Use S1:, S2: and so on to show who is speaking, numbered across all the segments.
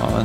S1: Ja,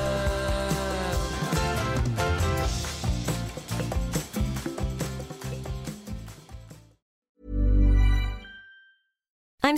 S2: I'm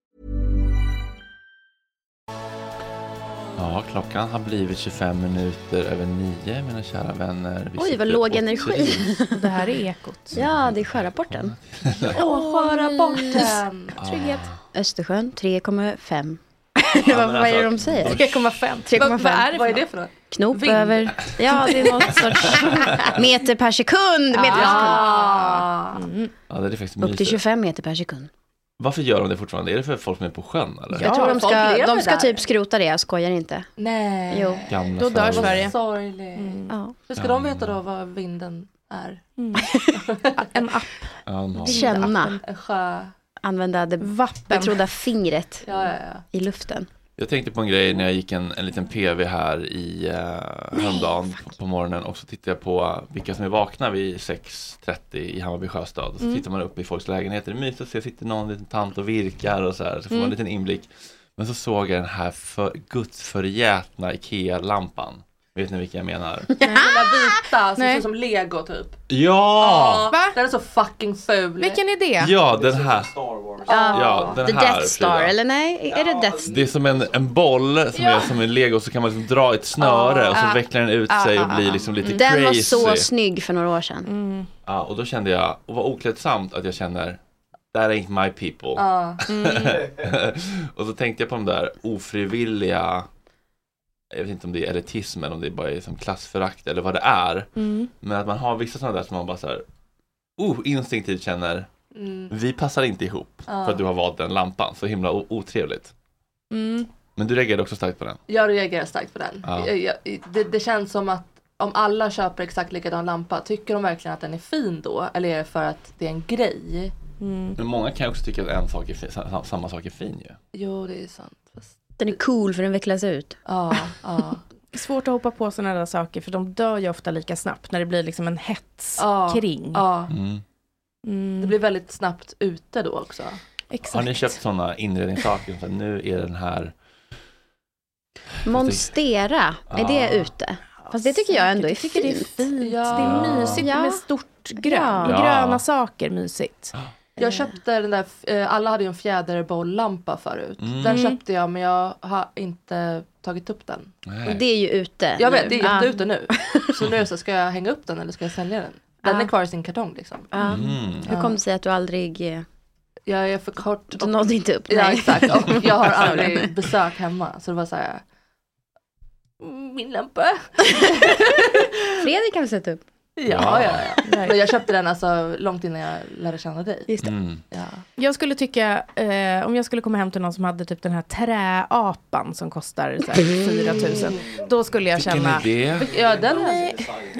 S1: Ja, klockan har blivit 25 minuter över nio, mina kära vänner. Vi
S3: Oj,
S1: sitter
S3: vad låg
S1: och
S3: energi.
S1: trivs.
S4: Det här är Ekot.
S3: Ja, det är sjörapporten.
S4: Åh, sköra borten. Trygghet.
S3: Ah. Östersjön 3,5.
S1: Ja,
S3: Vad
S1: men
S3: vad är det
S1: alltså,
S3: de säger?
S4: 3,5.
S3: 3,5.
S4: Vad, vad är det för något?
S5: något?
S3: Knop
S4: Vind.
S3: över. Ja, det är någon sorts meter per sekund. Meter per sekund.
S4: Ah.
S1: Ja, det är faktiskt
S3: Upp till
S1: mysigt.
S3: 25 meter per sekund.
S1: Varför gör de det fortfarande? Är det för folk som är på sjön eller?
S4: Ja.
S3: Jag tror de
S4: folk
S3: ska,
S4: lever
S3: de ska
S4: där. Eh.
S3: typ skrota det, jag skojar inte.
S6: Nej.
S3: Jo.
S1: Gamla
S4: Då dör
S1: Sverige.
S4: Sverige. Mm.
S6: Sorgligt.
S3: Ja.
S6: Hur ska de veta då vad vinden är?
S4: En app.
S1: Ja, de har-
S3: Känna,
S6: En sjö.
S3: använda det
S4: Vappen.
S3: betrodda fingret
S6: Ja, ja, ja.
S3: i luften.
S1: Jag tänkte på en grej när jag gick en, en liten PV här i eh, häromdagen på morgonen och så tittade jag på vilka som är vakna vid 6.30 i Hammarby Sjöstad. Och så
S7: Mm.
S1: tittar man upp i folks lägenheter, det är mysigt att se, sitter någon liten tant och virkar och så här, så får man
S7: Mm.
S1: en liten inblick. Men så såg jag den här för, gudsförgätna IKEA-lampan. Vet ni vilken jag menar?
S6: Den lilla vita som
S4: Nej.
S6: ser ut som lego typ.
S1: Ja!
S6: Va? Den är så fucking ful.
S3: Vilken idé?
S1: Ja, den här. Ja, den
S3: The
S1: här,
S3: Death Star,
S1: Frida.
S3: eller nej? Är det Death Star?
S1: Alltså, Det är som en, en boll som är som en lego så kan man liksom dra i ett snöre och så
S3: Ah.
S1: vecklar den ut
S3: Ah,
S1: sig och
S3: ah,
S1: blir
S3: ah.
S1: liksom lite
S3: Den
S1: crazy.
S3: var så snygg för några år sedan.
S4: Mm.
S1: Ja, och då kände jag, och vad oklädsamt att jag känner That ain't my people.
S3: Ja. Mm.
S1: och så tänkte jag på de där ofrivilliga Jag vet inte om det är elitism eller om det bara är som klassförakt eller vad det är.
S6: Mm.
S1: Men att man har vissa sådana där som man bara så här oh, instinktivt känner
S6: Mm.
S1: Vi passar inte ihop
S6: Ja.
S1: för att du har valt den lampan. Så himla o- otrevligt.
S6: Mm.
S1: Men du reagerade också starkt på den.
S6: Jag reagerar starkt på den.
S1: Ja.
S6: Jag, jag, det, det känns som att om alla köper exakt likadan lampa, tycker de verkligen att den är fin då? Eller är det för att det är en grej?
S4: Mm.
S1: Men många kan ju också tycka att en sak är fin, sa- samma sak är fin ju.
S6: Jo, det är sant.
S3: Den är cool för den vecklas ut.
S6: Ja, ja.
S8: Svårt att hoppa på sådana där saker för de dör ju ofta lika snabbt när det blir liksom en hets
S6: Ja,
S8: kring.
S6: ja.
S1: Mm.
S8: Mm.
S6: Det blir väldigt snabbt ute då också.
S1: Har ni köpt sådana inredningssaker? Så här, nu är den här
S3: Monstera, är
S1: Ja.
S3: det ute? Fast det tycker jag ändå är fint.
S8: det är fint. Det
S6: Ja.
S8: är mysigt
S6: Ja.
S8: med stort grönt.
S1: Ja.
S8: Gröna saker, mysigt.
S6: Jag köpte den där, eh, alla hade ju en fjäderbollampa förut.
S8: Mm.
S6: Den köpte jag men jag har inte tagit upp den.
S3: Och det är ju ute.
S6: Jag vet,
S3: nu.
S6: det är
S3: Ja.
S6: jätteute nu. Så nu är det så, ska jag hänga upp den eller ska jag sälja den? Den
S3: Ja.
S6: är kvar i sin kartong liksom.
S3: Ja.
S1: Mm.
S3: Hur kom det sig att du aldrig... eh,
S6: Jag är för kort.
S3: Du nådde inte upp?
S6: Ja
S3: nej.
S6: exakt, och jag har aldrig
S3: Mm.
S6: besök hemma. Så det var så här, Min lampa.
S3: Fredrik kan vi sätta upp.
S6: ja, ja, ja. Men jag köpte den alltså långt innan jag lärde känna dig.
S8: Just
S1: det.
S6: Ja.
S8: Jag skulle tycka, eh, om jag skulle komma hem till någon som hade typ den här träapan som kostar så
S6: Mm.
S8: här, 4 000. Då skulle jag känna...
S6: Ja, den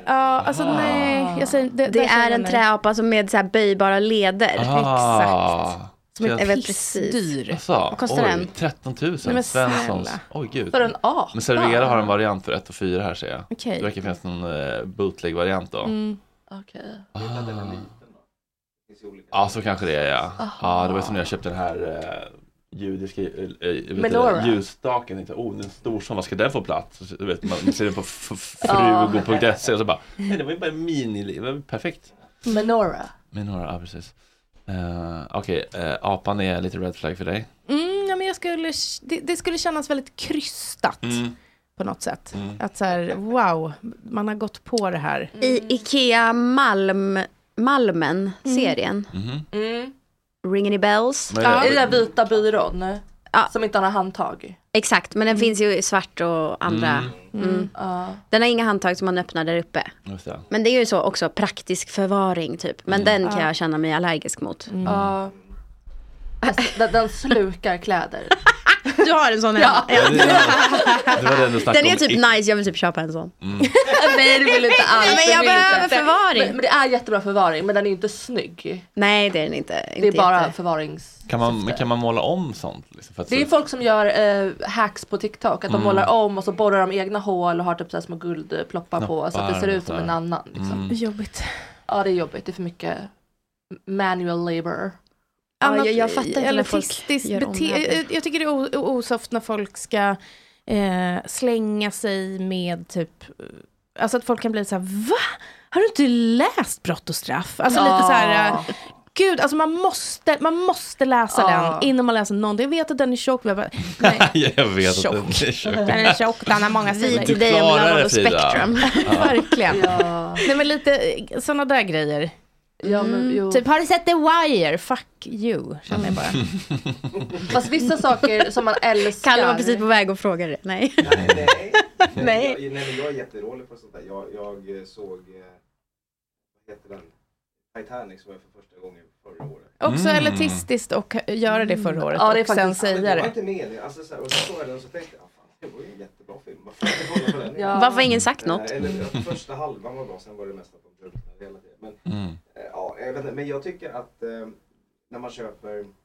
S8: Ja, alltså
S6: Ah.
S8: nej. Jag säger,
S3: Det
S8: det där säger
S3: är
S8: jag
S3: en
S8: nej.
S3: träapa som med så här böjbara leder.
S1: Ah. Exakt.
S3: Som ett pissdyr. Vad kostar den?
S1: 13 000.
S3: Nej, men
S1: Svenssons.
S3: snälla.
S1: Oj gud.
S3: För en apa?
S1: Men Servera har en variant för 1 och 4 här ser jag.
S8: Okej.
S1: Det verkar finnas någon eh, bootleg-variant då.
S8: Mm.
S1: Ah. Ja, så kanske det är ja.
S3: Ah.
S1: Ja, det var som när jag köpte den här eh, judiska eh, eh, vet du
S7: Melora.
S1: det, ljusstaken. Jag tänkte, Oh, den är stor som, vad ska den få plats? Så, Du vet, man ser den på f- f-
S3: Ah.
S6: Ja.
S1: frugo.se och så bara, nej det var ju bara en mini, det var perfekt.
S6: Menora.
S1: Minora, ja precis. Eh, Okej, eh, apan är lite red flag för dig.
S8: Mm, ja, men jag skulle, det, det skulle kännas väldigt krystat på något sätt.
S1: Mm.
S8: Att så här, wow, man har gått på det här.
S3: I Ikea Malm, Malmen-serien.
S1: Mhm.
S6: Mm.
S3: Ring any bells?
S6: Vad är det? Ja. Är det där vita byrån? Som inte har några handtag.
S3: Exakt, men den finns ju i svart och andra.
S6: Mm.
S3: Mm.
S6: Ja.
S3: Den har inga handtag som man öppnar där uppe.
S1: Just det.
S3: Men det är ju så också, praktisk förvaring typ. Men
S6: Mm.
S3: den kan
S6: Ja.
S3: jag känna mig allergisk mot.
S6: Ja. Alltså, den, den slukar kläder.
S3: Du har en sån
S6: hemma?
S3: Ja.
S1: Det, det var det du snackade
S3: Den är
S1: om.
S3: typ nice, jag vill typ köpa en sån.
S1: Mm.
S6: Nej det vill inte alls.
S3: Men
S6: det
S3: jag
S6: vill
S3: behöver
S6: inte.
S3: förvaring.
S6: Men, men det är jättebra förvaring men den är ju inte snygg.
S3: Nej det är den inte.
S6: Det är
S3: inte
S6: bara
S3: jätte-
S6: förvarings...
S1: Kan man, men kan man måla om sånt? Liksom, för att
S6: Det är
S1: så-
S6: folk som gör eh, hacks på TikTok. Att de
S1: Mm.
S6: målar om och så borrar de egna hål och har typ så här små guldploppar på. Så att det
S1: Knoppar
S6: ser
S1: och
S6: ut som
S1: sådär.
S6: en annan. Liksom.
S1: Mm.
S8: Jobbigt.
S6: Ja det är jobbigt. Det är för mycket manual labor.
S3: Ja,
S8: Annat-
S3: jag- jag fattar inte när
S8: eller
S3: folk
S8: artistiskt
S3: gör om
S8: bete-
S3: det.
S8: eh, Jag tycker det är o- o- osoft när folk ska eh, slänga sig med typ, eh, alltså att folk kan bli så här, va? Har du inte läst Brott och straff? Alltså lite så här, eh,
S6: Ja.
S8: gud, alltså man måste, man måste läsa
S6: Ja.
S8: den innan man läser någonting. Jag vet att den är tjock, men jag bara,
S1: jag vet att den
S8: Tjock.
S1: är tjock.
S8: Den är tjock, den har många
S3: Vi
S8: sidor.
S3: till dig om
S1: Klarare,
S3: Love on the
S1: Frida.
S3: Spectrum.
S8: Verkligen.
S6: Ja.
S8: Nej men lite sådana där grejer.
S6: Ja, men,
S8: Mm.
S6: jo.
S8: Typ, har du sett The Wire? Fuck you, känner jag bara.
S6: Fast vissa saker som man älskar.
S3: Kalle var precis på väg att fråga det. Nej. Nej.
S9: Jag, nej, men jag är jätterolig på sånt där. Jag, jag eh, såg, eh, vad heter den? Titanic såg jag för första gången förra året.
S8: Också
S9: Mm.
S8: elitistiskt och göra det förra året
S6: Ja, det är
S8: och sen
S6: faktiskt-
S8: säga
S9: Jag var
S8: det.
S9: inte med i det. Alltså, så här, och så såg jag den och så tänkte jag, "Ah, fan, det var ju en jättebra film. Varför har jag inte kollat på den?
S3: Ja. Varför har ingen sagt
S9: Eh,
S3: något?
S9: Eller, eh, första halvan var bra, sen var det mest att de drunknade
S1: Mm.
S9: hela tiden. Men, eh, ja, jag vet inte, men jag tycker att eh, när man köper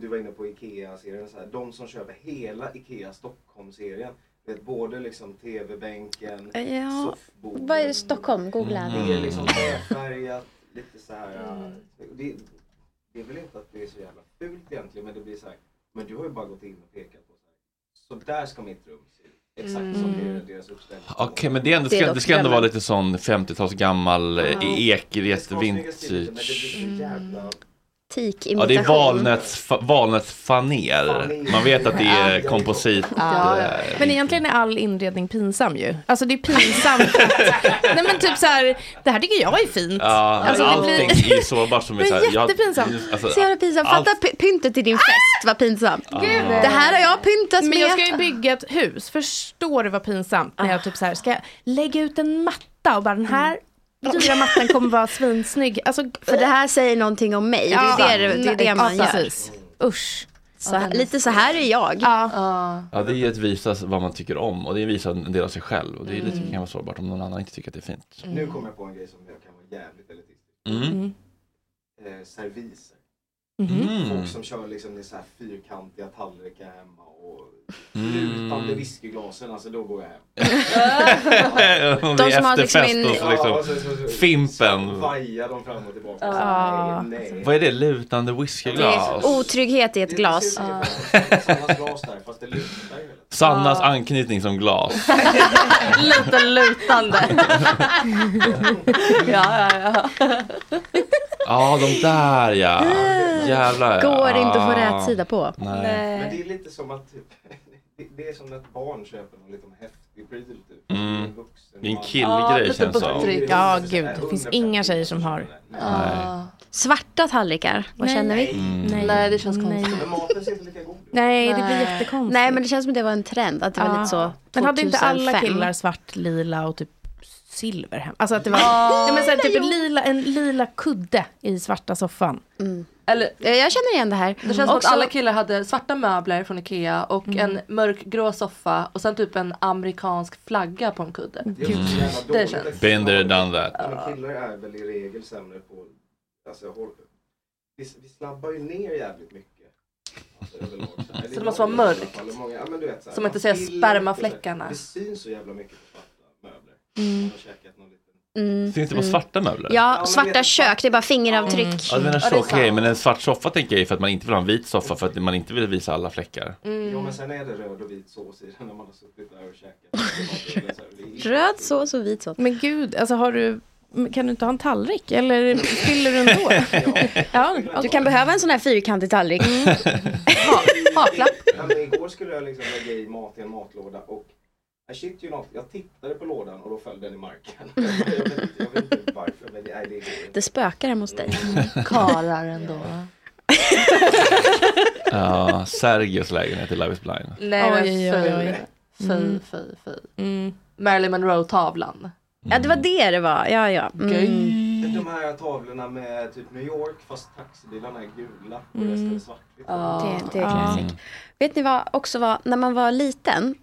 S9: Du var inne på IKEA-serien. Så här, de som köper hela IKEA Stockholm-serien. Vet, både liksom tv-bänken,
S8: Mm.
S3: Ja,
S9: soffbordet.
S3: vad är det, Stockholm? Googla.
S9: Det är
S1: Mm.
S9: liksom träfärgat, lite så här. eh, Det, det är väl inte att det är så jävla fult egentligen men det blir så här. Men du har ju bara gått in och pekat på så här. Så där ska mitt rum se ut. Exakt som det är deras uppställning.
S1: Okej, men det, är ändå,
S9: Det är
S1: ska,
S9: dock
S1: det ska ändå vara
S9: drömmen.
S1: lite sån 50-tals gammal
S9: Ja.
S1: eh, ekrest
S9: Det ska snyggas till lite, men det
S1: vintage.
S9: blir så jävla...
S1: Ja,
S3: Teak-imitation.
S1: det är valnöts, fa- valnötsfaner.
S9: Faner.
S1: Man vet att det är
S9: Ja.
S1: komposit.
S8: Ja,
S1: eh,
S8: ja. Men egentligen är all inredning pinsam ju. Alltså det är pinsamt att, Nej men typ så här, det här tycker jag är fint.
S1: Ja,
S8: alltså, det blir-
S1: allting är sårbart som är
S8: Men
S1: så här, jag-
S8: jättepinsamt.
S1: alltså,
S3: Så jävla pinsamt.
S1: allt- Ah.
S3: Fatta p- pyntet i din fest, vad pinsamt.
S1: Gud.
S3: Det här har jag pyntat med.
S8: Men jag ska ju bygga ett hus. Förstår du vad pinsamt när jag typ så här ska jag lägga ut en matta och bara den här dyra mattan kommer vara svinsnygg. Alltså, Mm,
S3: För det här säger någonting om mig. Det är det- det är det man
S8: ja,
S3: gör.
S8: precis. Usch. Ah.
S3: Så, här- lite så här är jag.
S1: Ja, det är att visa vad man tycker om och det är att visa en del av sig själv. Och det är lite, kan vara sårbart om någon annan inte tycker att det är fint.
S9: Nu kommer jag på en grej som jag kan vara jävligt elitistisk.
S1: Mm.
S9: Eh, serviser.
S8: Mm-hmm. Mm.
S1: Mhm.
S9: Folk som kör liksom med så här fyrkantiga tallrikar hemma och
S1: Mm.
S9: lutande whiskyglasen, alltså då går jag hem.
S1: Om det är efterfest och så
S9: Ja,
S1: liksom,
S9: så- så- så-
S1: Fimpen.
S9: Vajar de fram och tillbaka.
S3: Ja.
S9: Nej, nej.
S1: Vad är det? Lutande
S3: Det är
S1: whiskyglas?
S3: otrygghet i ett glas.
S9: Samma glas där fast det lutar ju.
S1: Sannas anknytning som glas.
S6: Lite lutande. ja, ja, ja.
S1: Ja, de där ja. Jävlar. ja.
S3: Går inte att få
S1: Ah.
S3: rätt sida på.
S1: Nej.
S9: Men det är lite som att typ, det, det är som när ett barn köper någon liten häftig pryl typ.
S1: Mm.
S9: En vuxen
S1: Det är en
S9: man.
S1: killgrej känns det som.
S8: Ja, gud. Det finns inga tjejer som har.
S1: Nej.
S3: Svarta tallrikar, vad
S8: Nej.
S3: känner vi?
S1: Mm.
S8: Nej.
S6: Nej, det känns konstigt.
S9: Men maten ser inte lika god ut.
S8: Nej, det
S3: Nej.
S8: blir jättekonstigt.
S3: Nej men det känns som det var en trend, att det var
S8: Ja.
S3: lite så
S8: Men hade inte alla
S3: 2005.
S8: killar svart, lila och typ silver hem? Alltså att det var
S3: Ja.
S8: nej, men så här, typ en lila, en lila kudde i svarta soffan.
S6: Eller,
S3: jag känner igen det här.
S6: Det känns som att alla killar hade svarta möbler från Ikea och
S8: Mm.
S6: en mörkgrå soffa och sen typ en amerikansk flagga på en kudde. Det känns...
S1: Been there, done that.
S9: Men killar är väl i regel sämre på, alltså håll, vi, vi snabbar ju ner jävligt mycket. Alltså, överlag, så här. Eller
S6: det måste vara
S9: många i alla
S6: mörkt.
S9: fall, och Många, ja, men du vet, så här,
S6: Så man inte
S9: man
S6: ser
S9: vill inte
S6: spermafläckarna.
S9: så här- Det syns så jävla mycket på svarta möbler.
S3: Mm.
S9: Man har käkat någon liten...
S3: Mm.
S1: Syns det på svarta möbler?
S3: Ja, svarta kök, det är bara fingeravtryck.
S1: Ja, du menar så, okej, men en svart soffa tänker jag är för att man inte vill ha en vit soffa för att man inte vill visa alla fläckar.
S3: Mm.
S6: Mm.
S9: Jo men sen är det röd och vit sås i den när man har suttit där och käkat. Det är så här, det är-
S3: Röd sås och vit sås.
S8: Men gud, alltså har du, men kan du inte ha en tallrik? Eller fyller du ändå? ja.
S3: Du kan behöva en sån här fyrkantig tallrik.
S6: Mm.
S9: Ja, men igår skulle jag liksom lägga i mat i en matlåda och I shit you not, jag tittade på lådan och då föll den i marken. jag, vet, jag vet inte varför men det, nej, det är
S3: Det spökar hemma hos dig.
S6: Karar ändå.
S1: Ja, Sergios lägenhet i Love is blind.
S6: Nej men
S8: Oj, oj, oj,
S6: fy,
S8: oj.
S6: fy,
S8: Mm.
S6: fy, fy.
S8: Mm.
S6: Marilyn Monroe-tavlan.
S3: Ja, det var det det var. Ja, ja. Mm.
S9: De här tavlorna med typ New York fast taxibilarna är gula och resten är svartvitt.
S6: Ah.
S3: Det, det är classic. Vet ni vad, också var, när man var liten,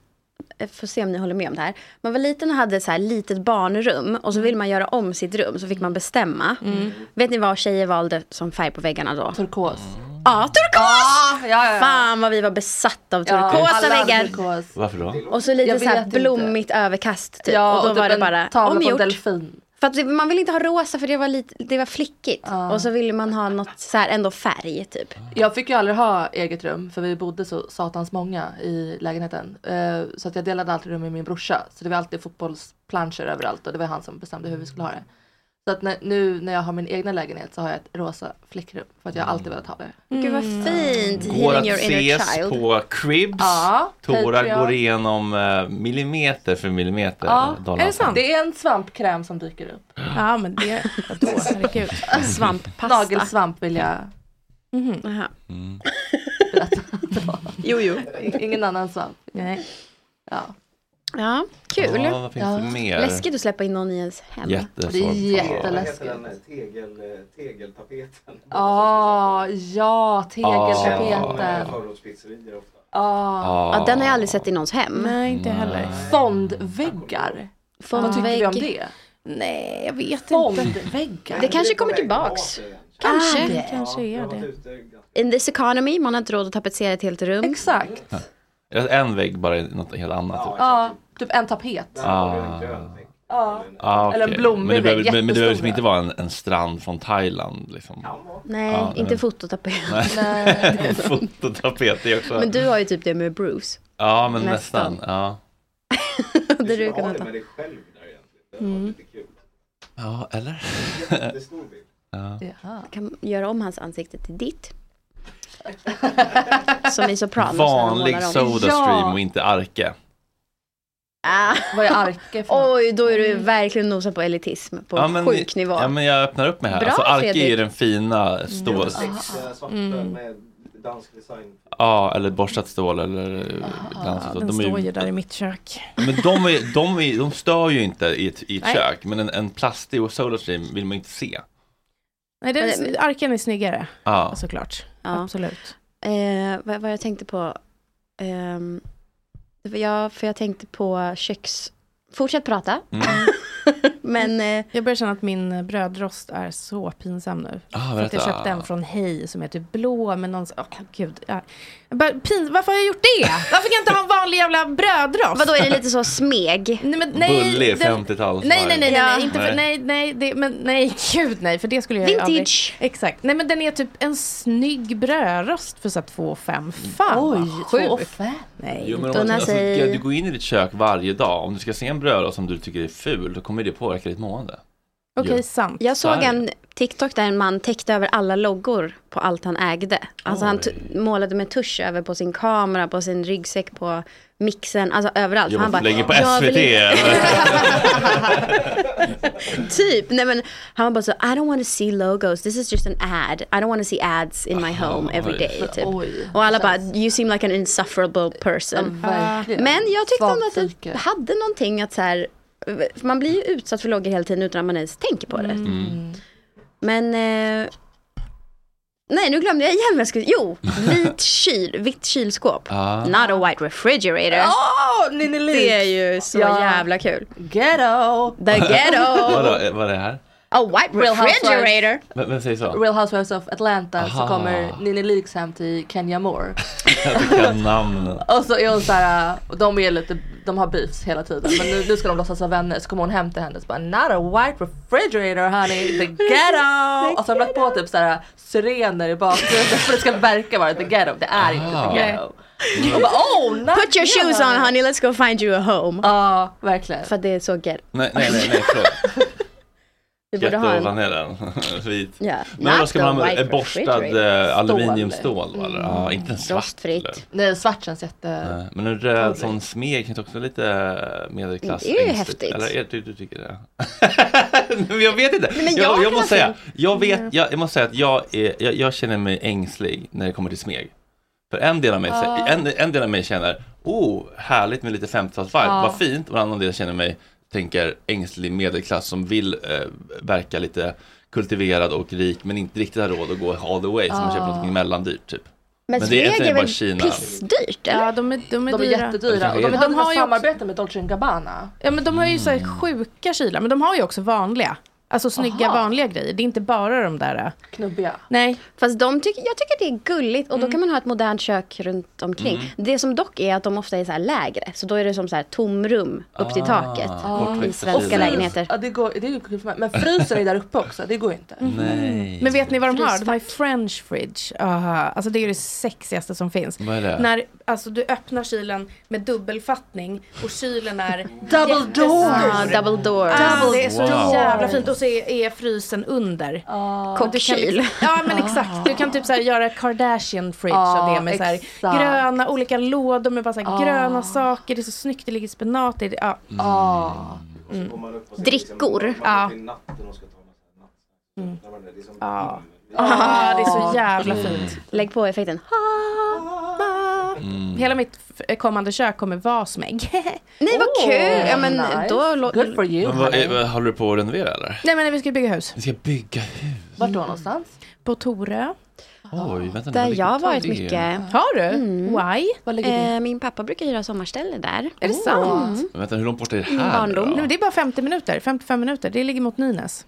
S3: eh, får se om ni håller med om det här. Man var liten och hade ett så här litet barnrum och så ville man göra om sitt rum så fick man bestämma.
S6: Mm.
S3: Vet ni vad tjejer valde som färg på väggarna då?
S6: Turkos.
S3: Ja, turkos!
S6: Ah, Ja, ja, ja.
S3: Fan vad vi var besatta av
S6: Ja,
S3: turkosa
S6: alla
S3: väggar.
S6: turkos.
S1: Varför då?
S3: Och så lite
S6: Jag
S3: så här
S6: vet inte.
S3: blommigt överkast typ.
S6: Ja,
S3: och då
S6: och typ
S3: var det
S6: en
S3: bara
S6: tavla på en
S3: omgjort.
S6: delfin.
S3: För att det- man ville inte ha rosa för det var, lite, det var flickigt. Och så ville man ha något så här ändå färg typ.
S6: Jag fick ju aldrig ha eget rum för vi bodde så satans många i lägenheten. Eh, Så att jag delade alltid rum med min brorsa. Så det var alltid fotbollsplanscher överallt och det var han som bestämde hur vi skulle ha det. Så att när, nu när jag har min egna lägenhet så har jag ett rosa flickrum för att jag alltid velat ha
S8: Mm.
S6: det.
S3: Gud vad
S6: Mm.
S3: fint.
S1: Går
S3: Healing
S1: att
S3: your inner
S1: ses
S3: child.
S1: på Cribs.
S6: Ja,
S1: Tora
S6: Patreon.
S1: går igenom eh, millimeter för millimeter. eh,
S6: Ja,
S1: dollarn.
S6: Det är en svampkräm som dyker upp.
S8: ja, men det, vadå, herregud.
S3: Svamppasta.
S6: Nagelsvamp vill jag,
S8: Mhm.
S3: Jaha.
S1: Mm.
S6: jo jo, ingen annan svamp.
S8: Nej.
S6: Ja.
S3: Ja, kul.
S1: Ja, vad finns det mer?
S3: Läskigt att släppa in någon i ens hem.
S1: Jättesvårt.
S6: Det är
S9: Vad
S6: jätteläskigt.
S9: heter den? eh, Tegel, eh, tegeltapeten.
S6: Ah, ja,
S9: Ja,
S6: tegeltapeten.
S9: Förortspizzerior ofta.
S6: Ah.
S3: Ja, den har jag aldrig sett i någons hem.
S8: Nej, inte heller.
S6: Fondväggar. Vad tycker vi om
S3: Fondvägg.
S6: det?
S8: Nej, jag vet inte.
S6: Fondväggar.
S3: Det kanske kommer tillbaks. Kanske.
S8: Ah, det kanske är det.
S3: In this economy, man har inte råd att tapetsera ett helt rum. Exakt.
S1: En vägg bara i något helt annat. Typ.
S6: Ja, typ en tapet.
S1: Ah.
S6: Ja.
S1: Ah, okej.
S6: Eller en blommig
S1: Men det behöver,
S6: vägg,
S1: men, men det behöver liksom
S6: jättestora.
S1: inte vara en, en strand från Thailand. Liksom.
S3: Nej,
S1: Ja,
S3: inte fototapet.
S1: Nej.
S3: Nej.
S1: Fototapet är också.
S3: Men du har ju typ det med Bruce.
S1: Ja, men
S3: Nästan.
S1: nästan. Ja.
S3: Där du kan ta. Mm.
S1: ja, eller? ja.
S3: Du kan göra om hans ansikte till ditt. Som i Sopranos. när de
S1: Vanlig
S3: målar om.
S1: Sodastream och inte Arke.
S3: Ah.
S6: Vad är arke
S3: Oj, då är du verkligen nosar på elitism på
S1: men,
S3: sjuk nivå.
S1: Ja, men jag öppnar upp mig här.
S3: Bra,
S1: alltså, Arke är ju
S3: Fredrik.
S1: den fina stål.
S9: Sexiga svarta
S8: Mm.
S9: med dansk design.
S1: Ja, eller borstat stål eller glansigt stål.
S8: Den
S1: De är
S8: står
S1: ju
S8: ju där i mitt kök.
S1: Men de, är, de, är, de stör ju inte i ett, i ett
S8: Nej.
S1: kök, men en, en plastig och Sodastream vill man ju inte se. Ah,
S8: Nej, den, arken är snyggare.
S1: Ja.
S8: Såklart.
S3: Ja.
S8: Absolut.
S3: Eh, vad, vad jag tänkte på. ehm, det var- ja, för jag tänkte på köks... Fortsätt prata.
S1: mm.
S3: Men, eh,
S8: jag börjar känna att min eh, brödrost är så pinsam nu.
S1: Ah,
S8: För att jag
S1: berätta.
S8: köpte en från Hej som är typ blå med någon... Åh, gud. Ja. Jag bara, pin, varför har jag gjort det? Varför kan jag inte ha en vanlig jävla brödrost?
S3: Vadå, är det lite så smeg?
S8: Nej, men, nej,
S1: Bullig
S8: den-
S1: 50-tals.
S8: Nej, nej, nej, nej,
S1: Ja.
S8: nej, inte för, nej, nej, det, men nej, gud nej, för det skulle jag ju aldrig-
S3: Vintage.
S8: Exakt. Nej, men den är typ en snygg brödrost för så två fem. Fan, vad
S6: Oj,
S8: sjukt.
S6: 2,5.
S8: Nej,
S1: Jo, men om,
S8: inte.
S1: alltså, du går in i ditt kök varje dag, om du ska se en brödrost som du tycker är ful, då kommer det påverka ditt mående.
S3: Okej,
S1: Ju.
S8: sant.
S3: Jag
S1: Så är
S3: såg
S1: det.
S3: en TikTok där en man täckte över alla loggor på allt han ägde. Alltså han t- målade med tusch över på sin kamera, på sin ryggsäck, på mixen, alltså överallt.
S1: Jag
S3: han bara,
S1: lägger på
S3: "Jag vill
S1: SVT. eller?
S3: typ. Nej, men han bara så, I don't want to see logos, this is just an ad. I don't want to see ads in my home every
S6: oj.
S3: day. Typ.
S6: Oj.
S3: Och alla bara, you seem like an insufferable person.
S6: Ja, verkligen.
S3: men jag tyckte ändå
S6: Svagt
S3: att det hade någonting att så här, för man blir ju utsatt för loggar hela tiden utan att man ens tänker på det. Men, eh, nej nu glömde jag igen vad jag skulle, jo, vit kyl, vitt kylskåp.
S1: Ah.
S3: Not a white refrigerator.
S6: Åh, Ninni Lik!
S3: Det är ju så
S6: Ja.
S3: jävla kul.
S6: Ghetto!
S3: The ghetto!
S1: Vadå, eh, vad är det här?
S3: a white
S6: Real Housewives.
S3: refrigerator.
S1: Vem, vem säger så?
S6: Real Housewives of Atlanta
S1: Aha.
S6: så kommer Ninni Leaks hem till Kenya Moore.
S1: Jag tycker namnen.
S6: Och så är hon så här, och de är lite, de har beefs hela tiden men nu, nu ska de låtsas vara vänner så kommer hon hem till henne och så bara Not a white refrigerator honey, the ghetto! Och så har de lagt på typ så här sirener i bakgrunden för det ska verka vara the ghetto, det är inte
S3: Ah.
S6: the ghetto.
S1: Mm.
S6: Hon bara oh! not
S3: Put your
S6: here,
S3: shoes on
S6: honey."
S3: honey, let's go find you a home.
S6: Ja, verkligen.
S3: För att det är så ghetto.
S1: Nej, nej, nej, nej förlåt.
S3: Du borde ha
S1: Jätteovan
S3: en...
S1: är den. Vit.
S3: Ja.
S1: Men då
S3: Not
S1: ska man
S3: the
S1: ha
S3: white
S1: en borstad
S3: refrigerator. Mm.
S1: eh, aluminiumstål? va, Eller? Ja, inte en svart. eller?
S6: Nej svart känns jätte...
S1: Nej, Eh, Men en röd sån smek känns också lite eh, medelklass.
S3: Det är ju
S1: ängsligt.
S3: häftigt.
S1: Eller är- du, du tycker det? men jag vet inte.
S3: Nej, men jag
S1: jag,
S3: kan
S1: måste säga,
S3: alltså-
S1: jag, vet, jag, jag måste säga att jag, är, jag, jag känner mig ängslig när det kommer till smeg. För en del av mig,
S6: Ja.
S1: en, en del av mig känner, oh, härligt med lite 50-talsvibe,
S6: Ja.
S1: vad fint. Och en annan del känner mig, tänker ängslig medelklass som vill eh, verka lite kultiverad och rik men inte riktigt har råd att gå all the way så man
S6: Ja.
S1: köper någonting mellandyrt typ.
S3: Men,
S1: Men det är egentligen
S3: Sveg är
S1: bara
S3: väl
S1: Kina.
S3: pissdyrt eller?
S8: Ja, de är, de är,
S6: De är
S8: dyra.
S6: jättedyra och de,
S1: De
S6: hade
S8: har
S6: har
S8: ju
S6: samarbete med Dolce Gabbana.
S8: Ja, men de har ju så här
S1: Mm.
S8: sjuka kylar, men de har ju också vanliga. Alltså snygga
S6: Aha.
S8: vanliga grejer. Det är inte bara de där. äh.
S6: Knubbiga.
S8: Nej.
S3: Fast de tycker, jag tycker det är gulligt och då kan man ha ett modernt kök runt omkring. Det som dock är att de ofta är så här lägre, så då är det som så här tomrum upp till
S1: Ah,
S3: taket i
S1: kortväxta
S3: svenska
S1: kylar.
S3: lägenheter.
S6: Ja, det går, det är ju kul för mig. Men frysen är där uppe också, det går ju inte.
S1: Nej.
S8: Men vet ni vad de har? De har ju French fridge. Aha. Alltså det är ju det sexigaste som finns.
S1: Vad är det?
S8: När alltså, du öppnar kylen med dubbelfattning och kylen är
S6: Double door.
S3: Ah,
S8: jättestor.
S3: double door.
S8: Ah, det är så
S1: Wow.
S8: jävla fint och så är, är frysen under.
S6: Ah.
S8: Du kan
S3: Kockkyl.
S8: liksom- Ja men exakt, du kan typ så här göra Kardashian fridge av
S6: Ja,
S8: det med så här
S6: exakt.
S8: gröna olika lådor med bara så här gröna saker, det är så snyggt, det ligger spenat i det. Ja.
S6: Ah.
S3: Drickor.
S8: Ja.
S9: Till natten och ska ta en massa natt. Det är som
S8: Ja. Ah, det är så jävla fint.
S3: Lägg på effekten.
S1: Mm.
S8: Hela mitt f- kommande kök kommer vara smägg.
S3: Nej vad kul! Ja men
S6: nice.
S3: då... lå-
S6: Good for you.
S1: Men vad,
S6: honey.
S1: är, vad, håller du på att renovera eller?
S8: Nej men vi ska bygga hus.
S1: Vi ska bygga hus.
S6: Vart då någonstans?
S8: På Torö.
S1: Oj, vänta nu, vad
S3: Där
S1: ligger-
S3: jag har varit
S1: det?
S3: mycket.
S8: Har du? Mm. Why?
S6: Var ligger det?
S3: Eh, min pappa brukar hyra sommarställe där.
S8: Är det sant?
S1: Men Vänta, hur långt bort är det
S3: Min
S1: här
S3: barndom.
S1: då?
S8: Nej, men det är bara 50 minuter. 55 minuter. Det ligger mot Nynäs.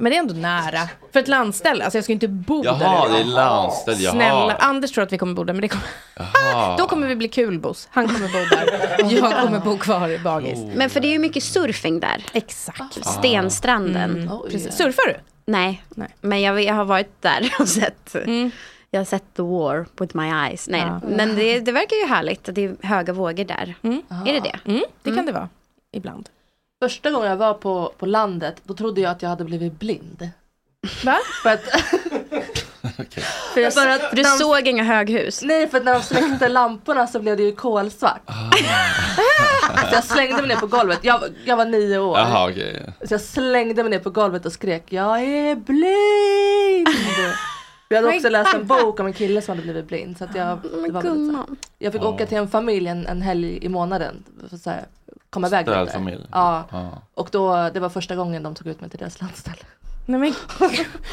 S8: Men det är ändå nära. För ett landställe, alltså jag ska ju inte bo där.
S1: Jaha, det är
S8: ute.
S1: landställd. Jaha. Ah.
S8: Snälla, Anders tror att vi kommer bo där, men det kommer...
S1: Jaha.
S8: Då kommer vi bli kulbos. Han kommer bo där. Jag kommer bo kvar i bagis.
S1: Oh.
S3: Men för det är ju mycket surfing där.
S8: Exakt.
S3: Stenstranden.
S8: precis. Surfar du?
S3: Nej, Mm. men jag, jag har varit där och sett. Jag har sett the war with my eyes. Nej,
S8: Ja.
S3: men det, det verkar ju härligt att det är höga vågor där. Är det det?
S8: det kan det vara. Mm. Ibland.
S6: Första gången jag var på, på landet, då trodde jag att jag hade blivit blind.
S8: Va?
S6: För att...
S3: För, jag, för du såg inga höghus?
S6: Nej, för att när de släckte lamporna så blev det ju kolsvart. så jag slängde mig ner på golvet. Jag, jag var nio år.
S1: Jaha, okej.
S6: Så jag slängde mig ner på golvet och skrek jag är blind. Jag hade också läst en bok om en kille som hade blivit blind. Så att jag, det var väldigt så här- jag fick åka till en familj en, en helg i månaden. För att så här, komma iväg lite.
S1: Stödfamilj.
S6: Ja.
S1: Ja.
S6: Och då, det var första gången de tog ut mig till deras landställe.
S8: Nej, men...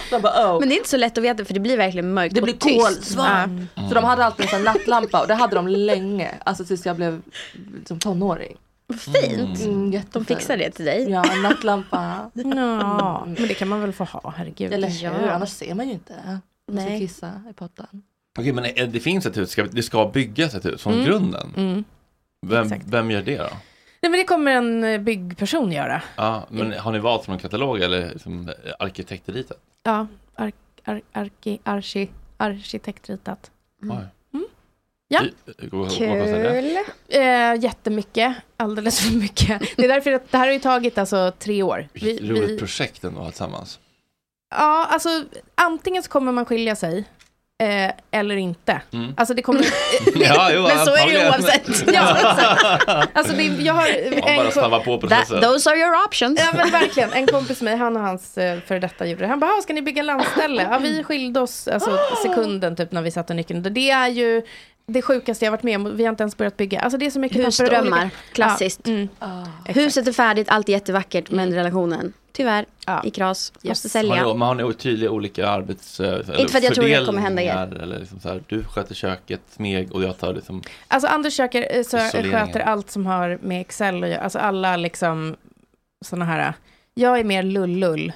S6: de bara, oh.
S3: Men det är inte så lätt att veta för det blir verkligen mörkt
S6: Det blir
S3: och tyst.
S6: kolsvart. Så de hade alltid en sån här nattlampa och det hade de länge. Alltså tills jag blev liksom tonåring.
S3: Fint.
S6: Mm, jättefint.
S3: De fixar det till dig.
S6: Ja, en nattlampa.
S8: Ja, men det kan man väl få ha, herregud.
S6: Eller hur?
S8: Ja.
S6: Annars ser man ju inte. Man ska
S8: Nej.
S6: kissa i pottan.
S1: Okej, men eh, det finns ett hus, Ska- det ska byggas ett hus från
S8: Mm.
S1: grunden.
S8: Mm.
S1: Vem, vem gör det då?
S8: Nej, men det kommer en eh, byggperson göra.
S1: Ja, men har ni valt från en katalog eller liksom arkitektritet?
S8: Ja, ar- ar- arki- arki- arkitektritat.
S1: Mm.
S8: Ja.
S1: Hur går- går- går- går- går- går-
S8: Eh, jättemycket, alldeles för mycket. Det är därför att det här har ju tagit alltså tre år. Vi,
S1: Vilket roligt
S8: vi,
S1: projekt ändå att ha tillsammans.
S8: ja, alltså antingen så kommer man skilja sig eh, eller inte.
S1: Mm.
S8: Alltså det kommer...
S1: Ja, jo, Men så är det ju antagligen. oavsett.
S8: Ja, exakt. alltså det, jag har...
S1: Man bara
S8: en-
S1: snabbar på processen.
S3: are your options.
S8: Ja men verkligen, en kompis med han och hans eh, före detta djur, han bara, "Ah, ska ni bygga landställe? Ja, vi skilde oss alltså, sekunden typ när vi satte nyckeln. Det är ju det sjukaste jag varit med om, vi har inte ens börjat bygga. Alltså det är så mycket papper och
S3: Husdrömmar,
S8: olika-
S3: klassiskt.
S8: Ja, mm.
S3: Huset är färdigt, allt är jättevackert men relationen, tyvärr, i kras. Måste sälja.
S1: Har ni, man har ni tydliga olika arbets... Inte
S3: för att jag tror det kommer hända er.
S1: Eller liksom så här, du sköter köket, Meg och jag tar liksom...
S8: Alltså Anders köker, eh, så
S1: Isoleringen.
S8: sköter allt som har med Excel att göra, alltså alla liksom sådana här, eh, jag är mer lullull.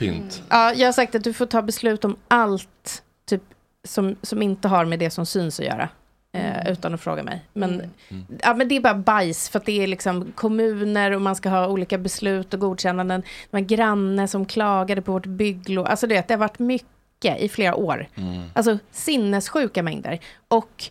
S1: Pynt.
S8: Ja, jag har sagt att du får ta beslut om allt typ, som, som inte har med det som syns att göra. eh,
S3: Mm.
S8: Utan att fråga mig. Men, ja, men det är bara bajs. För att det är liksom kommuner och man ska ha olika beslut och godkännanden. Det var en granne som klagade på vårt bygglov. Alltså du vet, det har varit mycket i flera år.
S3: Mm.
S1: Mm.
S8: Alltså sinnessjuka mängder. Och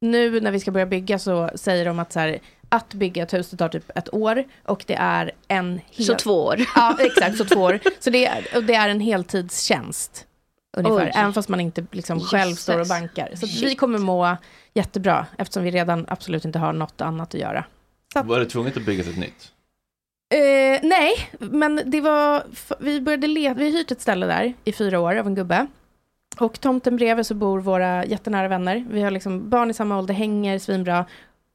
S8: nu när vi ska börja bygga så säger de att så här, att bygga ett hus det tar typ ett år och det är en hel...
S3: Så två år.
S8: Ja, exakt, så två år. Så det är, och det är en heltidstjänst. Ungefär,
S3: Oj.
S8: även fast man inte liksom själv
S3: Jösses.
S8: står och bankar. Så att vi
S3: Shit.
S8: kommer må jättebra eftersom vi redan absolut inte har något annat att göra.
S1: Var det tvunget att bygga ett nytt?
S8: Eh, nej, men det var, f- vi började leta, vi har hyrt ett ställe där i fyra år av en gubbe. Och tomten bredvid så bor våra jättenära vänner. Vi har liksom barn i samma ålder, hänger svinbra.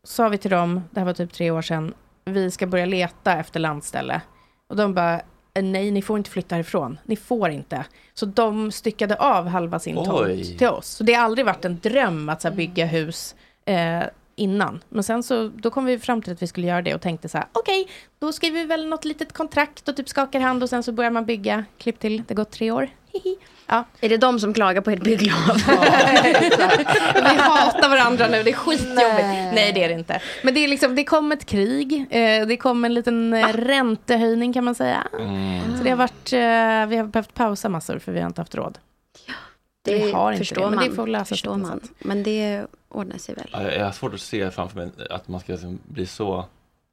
S8: Sa vi till dem, det här var typ tre år sedan, vi ska börja leta efter landställe. Och de bara, "Eh, nej ni får inte flytta härifrån, ni får inte. Så de styckade av halva sin
S1: Oj.
S8: tomt till oss. Så det har aldrig varit en dröm att så här, bygga hus eh, innan. Men sen så, då kom vi fram till att vi skulle göra det och tänkte så här, okej, då skriver vi väl något litet kontrakt och typ skakar hand och sen så börjar man bygga. Klipp till, det har gått tre år. Hihi. Ja.
S3: Är det de som klagar på ert bygglov?
S8: Vi hatar varandra nu, det är skitjobbigt. Nej, det är det inte. Men det, är liksom, det kom ett krig, eh, det kom en liten eh, räntehöjning kan man säga. Så det har varit, eh, vi har behövt pausa massor för vi har inte haft råd.
S3: Det
S8: vi har
S3: förstår
S8: inte det,
S3: man.
S8: men det får lösas
S3: förstår
S8: på något
S3: man.
S8: sätt.
S3: Men det ordnar sig väl.
S1: Ja, Jag jag har svårt att se framför mig att man ska liksom bli så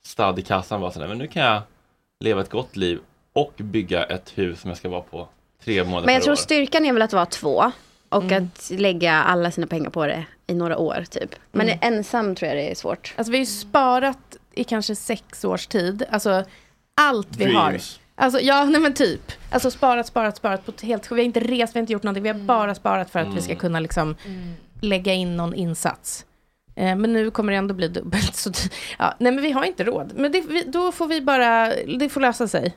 S1: stadd i kassan. Bara sådär, men nu kan jag leva ett gott liv och bygga ett hus som jag ska vara på tre månader
S3: Men jag
S1: per
S3: tror
S1: år.
S3: styrkan är väl att vara två. Och
S8: Mm.
S3: att lägga alla sina pengar på det i några år typ. Men
S8: Mm.
S3: ensam tror jag det är svårt.
S8: Alltså vi har ju sparat i kanske sex års tid. Alltså allt vi har.
S1: Dreams.
S8: Alltså ja, nej men typ. Alltså sparat, sparat, sparat på ett helt Vi har inte rest, vi har inte gjort någonting. Vi har bara sparat för att vi ska
S1: Mm.
S8: kunna liksom lägga in någon insats. Eh, men nu kommer det ändå bli dubbelt så dy- ja, Nej men vi har inte råd. Men det, vi, då får vi bara, det får lösa sig.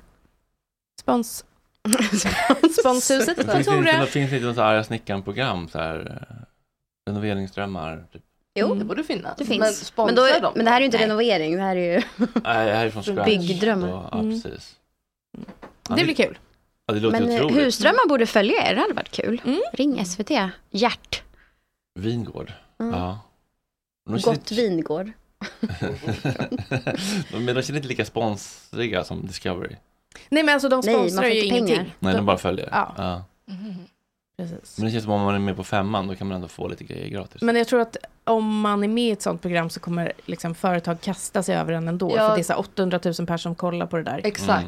S8: Spons. Sponshuset i
S1: Men Finns det inte,
S8: Tore.
S1: något- finns det inte något så här arga snickaren-program? Så här, eh, renoveringsdrömmar? Typ.
S3: Jo,
S6: Det borde finnas.
S3: det
S6: Men
S3: finns. Men,
S6: sponsra
S3: då,
S6: dem.
S3: men det här är ju inte
S6: Nej.
S3: renovering, det här är ju...
S1: Nej, det här är från scratch.
S3: Byggdrömmar.
S1: Ja, ja,
S8: Mm.
S1: precis. Ja,
S8: Det blir kul.
S1: Ja, det låter
S3: Men eh,
S1: otroligt.
S3: husdrömmar borde följa er, det hade varit kul.
S8: Mm.
S3: Ring SVT. Hjärt.
S1: Vingård.
S3: Mm.
S1: Ja. De känner,
S3: Gott vingård.
S1: de, men de känner inte lika sponsriga som Discovery.
S8: Nej men alltså de
S3: Nej, man får
S8: sponsrar ju
S3: inte pengar.
S8: ingenting.
S1: Nej, de bara följer.
S8: Ja.
S1: Ja.
S8: Precis.
S1: Men det känns som om man är med på femman, då kan man ändå få lite grejer
S6: Typ.
S1: gratis. Mm.
S8: Men jag tror att om man är med i ett sånt program så kommer liksom företag kasta sig över en ändå.
S6: Ja.
S8: För det är så här 800 000 personer som kollar på det där.
S6: Exakt.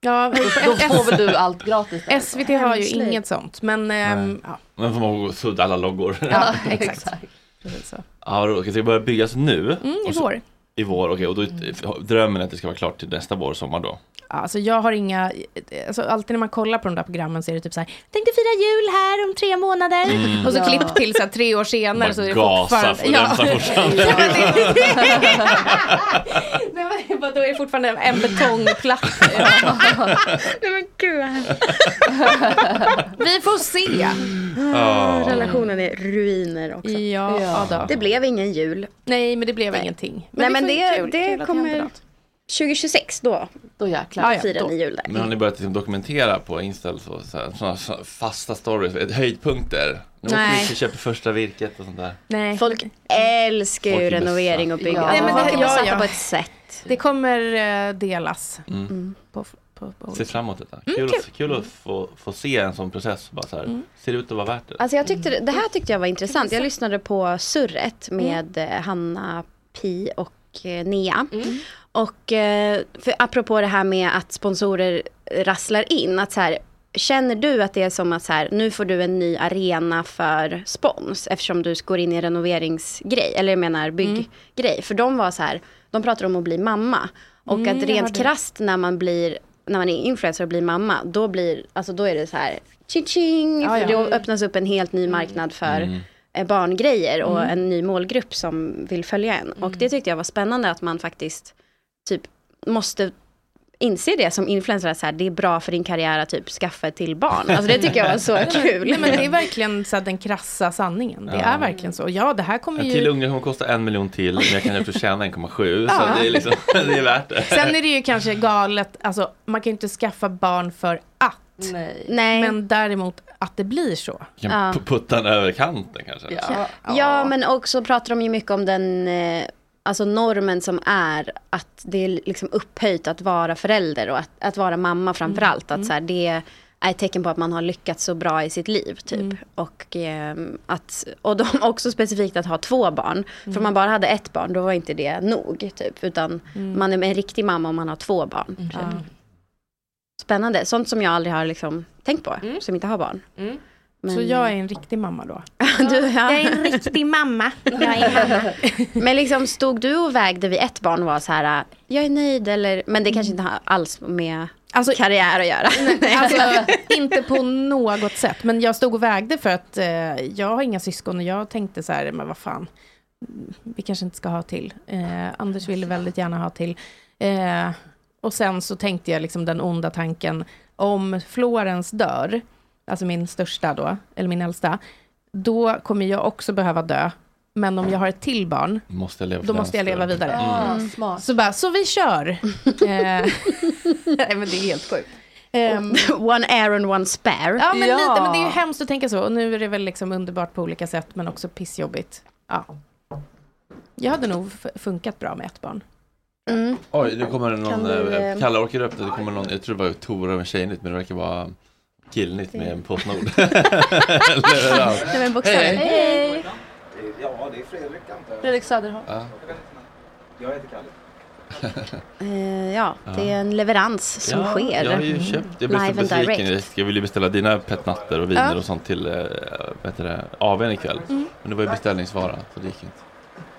S8: Ja,
S6: då, då får väl du allt gratis där.
S8: SVT har ju inget sånt. Men ehm,
S1: Nej.
S8: ja.
S1: Men får man gå och sudda alla loggor.
S8: ja, exakt. Precis så.
S1: Ja, då ska det börja byggas nu?
S8: Mm,
S1: Och så-
S8: igår.
S1: I vår, okej. och då är drömmen att det ska vara klart till nästa vår, sommar då.
S8: Ja, Alltså jag har inga, alltså alltid när man kollar på de där programmen så är det typ så här, tänkte fira jul här om tre månader.
S1: Mm.
S8: Och så
S1: Ja.
S8: klipp till så här, tre år senare
S1: Bara
S8: så är det
S1: gasa
S8: fortfarande...
S1: för den som fortfarande-
S8: Nej, men det- Nej, men bara, Då är det fortfarande en betongplatta.
S3: Nej men gud.
S8: Vi får se.
S3: Ah,
S8: Ja.
S3: Relationen är ruiner också.
S8: Ja, ja då.
S3: Det blev ingen jul.
S8: Nej, men det blev ingenting.
S3: Nej, men
S8: får ju
S3: det-
S8: kul-
S3: det
S8: kul att
S3: kommer-
S8: händer något.
S3: 2026 då.
S6: Då jäklar.
S3: Då firar ni jul
S1: Men
S3: där.
S1: har ni börjat liksom dokumentera på Insta och så, så här, såna, så- fasta stories, ett- höjdpunkter? Nu åker
S3: Nej.
S1: vi och köper första virket och sånt där.
S8: Nej.
S3: Folk älskar
S1: Folk
S3: ju
S1: är
S3: renovering och
S1: besatta.
S3: bygga.
S8: Ja. Nej, men det-
S3: Folk är
S8: ja,
S3: besatta
S8: ja.
S3: på ett sätt.
S8: Det kommer eh, delas.
S3: Mm.
S8: På, på, på.
S1: Mm. Se fram emot detta.
S8: Mm,
S1: Kul, Att, kul att få, få se en sån process. Bara så här, Ser det ut att vara värt det?
S3: Alltså jag tyckte, det här tyckte jag var intressant. Jag lyssnade på Surret
S8: Mm.
S3: med eh, Hanna Pi och eh, Nea.
S8: Mm.
S3: Och eh, för apropå det här med att sponsorer rasslar in. Att så här, känner du att det är som att så här, nu får du en ny arena för spons. Eftersom du går in i en renoveringsgrej. Eller jag menar
S8: Mm.
S3: bygggrej. För de var så här, de pratar om att bli mamma. Och
S8: Mm,
S3: att
S8: jag
S3: rent
S8: hörde.
S3: krasst när man blir när man är influencer och blir mamma, då, blir, alltså då är det så här, ching
S8: Ja, ja.
S3: För då öppnas upp en helt ny marknad för eh, barngrejer och
S8: Mm.
S3: en ny målgrupp som vill följa en. Och det tyckte jag var spännande att man faktiskt typ måste inse det som influencer, att så här, det är bra för din karriär att typ skaffa ett till barn. Alltså det tycker jag var
S8: Nej,
S3: så
S8: men-
S3: kul.
S8: Nej, men det är verkligen så här, den krassa sanningen. Det
S1: Ja.
S8: är verkligen så. Ja, det här kommer
S1: En till
S8: ju...
S1: unge kommer kosta en miljon till, men jag kan ju också tjäna 1,7.
S8: Ja.
S1: Så det är, liksom, det är värt det.
S8: Sen är det ju kanske galet, alltså man kan ju inte skaffa barn för att.
S6: Nej.
S8: Men däremot att det blir så.
S1: Jag
S3: Ja.
S1: kan pu- putta den över kanten kanske.
S3: Ja, men också pratar de ju mycket om den eh, alltså normen som är att det är liksom upphöjt att vara förälder och att, att vara mamma framför
S8: Mm,
S3: allt. Att så här, det är ett tecken på att man har lyckats så bra i sitt liv. Typ.
S8: Mm.
S3: Och, ehm, att, och de också specifikt att ha två barn. För om man bara hade ett barn då var inte det nog. Typ. Utan
S8: Mm.
S3: man är en riktig mamma om man har två barn. Typ.
S8: Ja.
S3: Spännande, sånt som jag aldrig har liksom, tänkt på, som inte har barn.
S8: Mm. Så jag är en riktig mamma då.
S3: Du, ja.
S8: Jag är en riktig mamma. Jag är mamma.
S3: Men liksom stod du och vägde vid ett barn och var så här, jag är nöjd eller, men det kanske inte har alls med
S8: Mm. Alltså,
S3: karriär att göra.
S8: Nej, alltså, inte på något sätt. Men jag stod och vägde för att eh, jag har inga syskon och jag tänkte så här, men vad fan, vi kanske inte ska ha till. Eh, Anders ville väldigt gärna ha till. Eh, och sen så tänkte jag liksom den onda tanken, om Florens dör, alltså min största då, eller min äldsta, då kommer jag också behöva dö. Men om jag har ett till barn,
S1: Måste jag leva
S8: då
S1: för
S8: måste jag
S1: den
S8: leva
S1: skull.
S8: vidare.
S1: Mm.
S8: Så bara, så vi kör. Eh, Nej men det är helt sjukt. Ehm,
S3: one air and one spare.
S8: Ja, men lite. Men det är ju hemskt att tänka så. Och nu är det väl liksom underbart på olika sätt, men också pissjobbigt. Ja. Jag hade nog f- funkat bra med ett barn.
S1: Oj, nu kommer det någon,
S8: Kan du,
S1: eh,
S8: eh,
S1: Kalle orkar upp det, det kommer någon, jag tror det var Tora med tjejnytt, men det verkar vara killnytt med en påsnord.
S6: Nej, men bokstavligt.
S1: Hej, hej.
S6: Hej.
S9: Ja, det är Fredrik antar jag.
S6: Fredrik Söderholm.
S1: Ja.
S9: Jag heter Kalle.
S3: Eh, ja, det är en leverans som
S1: Ja,
S3: sker.
S1: Jag har ju köpt, jag blev så
S3: Live and
S1: besviken.
S3: direct.
S1: Jag- Jag ville ju beställa dina petnatter och viner
S3: Ja.
S1: och sånt till äh, vad heter det, AWn ikväll.
S8: Mm.
S1: Men det var ju beställningsvara, så det gick inte.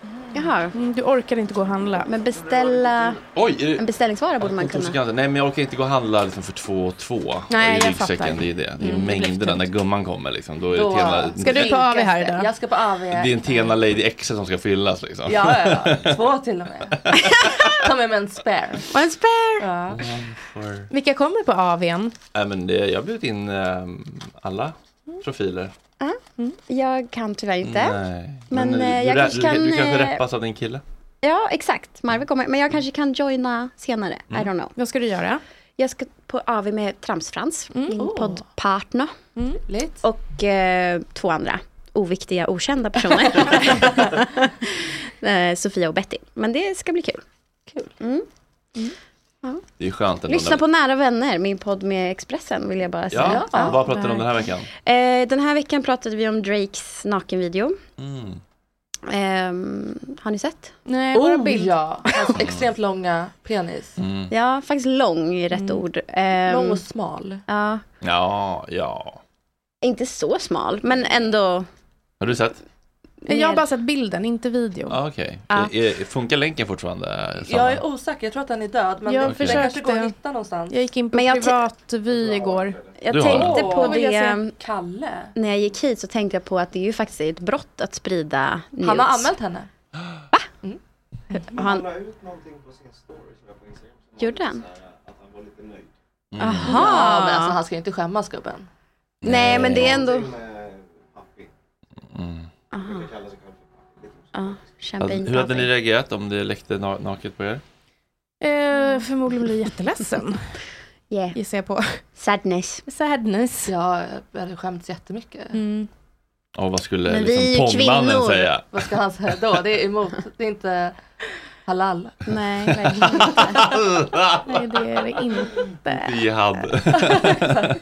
S3: Mm. Jaha.
S8: Mm, Du orkar inte gå och handla.
S3: Men beställa...
S1: Oj, är det-
S3: En beställningsvara borde man kunna.
S1: Kontorskanten. Nej men jag orkar inte gå och handla liksom för två och två
S3: Nej,
S1: i
S3: jag
S1: ryggsäcken.
S3: fattar.
S1: Det är det. Det är
S3: Mm, det blir
S1: mängderna när gumman kommer liksom. Då är det
S6: Då-
S1: tena,
S6: Ska du på AV här idag? Jag ska på AV.
S1: det är en Tena Lady Excel som ska fyllas liksom.
S6: Ja, ja, ja. Två till och med. Ta med mig en spare.
S3: En spare!
S6: Ja.
S1: För-
S8: Vilka kommer på AWn?
S1: Nej, men det, jag har bjudit in ehm, alla profiler.
S3: Ja, Jag kan tyvärr inte.
S1: Nej.
S3: Men,
S1: eh,
S3: eh, jag
S1: du,
S3: kanske
S1: du, du,
S3: kan,
S1: kanske
S3: eh,
S1: rappas av din kille?
S3: Ja, exakt. Marve kommer. Men jag kanske kan joina senare.
S1: Mm.
S3: I don't know.
S8: Vad ska du göra?
S3: Jag ska på AV med Tramsfrans, min poddpartner. Och eh, två andra oviktiga, okända personer. Eh, Sofia och Betty. Men det ska bli kul. Kul. Mm.
S1: Det är ju skönt ändå.
S3: Lyssna
S1: när-
S3: på Nära Vänner, min podd med Expressen vill jag bara säga.
S1: Ja, vad pratar du om den här veckan?
S3: Eh, den här veckan pratade vi om Drakes nakenvideo.
S1: Mm.
S3: Ehm, har ni sett?
S8: Nej,
S6: bara bild. Ja, alltså, extremt långa penis.
S1: Mm.
S3: Ja, faktiskt lång är rätt ord. Ehm,
S6: Lång och smal.
S3: Ja,
S1: Ja, ja.
S3: inte så smal, men ändå.
S1: Har du sett?
S8: Jag har bara sett bilden, inte videon.
S1: Ah, Okej.
S8: Ja.
S1: E- e- Funkar länken fortfarande? Sanna?
S6: Jag är osäker, jag tror att den är död. Men
S8: Jag
S6: jag försökte.
S8: försökte.
S6: Den kanske går att hitta någonstans.
S8: Jag gick in på
S3: Men jag
S8: privat vy igår.
S3: Jag
S1: Du har
S3: tänkte
S6: Åh,
S3: på
S6: då vill jag
S3: det.
S6: se Kalle.
S3: När jag gick hit så tänkte jag på att det är ju faktiskt ett brott att sprida nudes.
S6: Han har anmält henne.
S3: Han-
S9: Han la ut någonting på sin story som jag på Instagram. som var
S3: Gjorde
S9: lite
S3: han?
S9: så här, Att han var lite nöjd.
S1: Mm.
S3: Aha.
S6: Ja, men alltså, han ska ju inte skämmas gubben.
S3: Nej, men det är ändå.
S9: Någonting med Happy.
S1: Mm.
S3: Aha.
S9: Det typ kallas sig själv för Happy. Lite osäkert.
S3: Ja,
S1: Hade-
S3: champagne.
S1: Alltså, Hur hade ni reagerat om det läckte na- naket på er?
S8: Eh, förmodligen blir jag jätteledsen,
S3: Yeah.
S8: gissar jag på.
S3: Sadness.
S8: Sadness.
S6: Ja, jag hade skämts jättemycket.
S8: Mm.
S1: Och vad skulle
S3: Men vi är ju
S1: liksom pondmannen
S3: kvinnor.
S1: säga?
S6: Vad ska han säga då? Det är emot. Det är inte halal.
S3: Nej, verkligen inte.
S8: Nej, det är det inte.
S1: Jihad.
S9: Men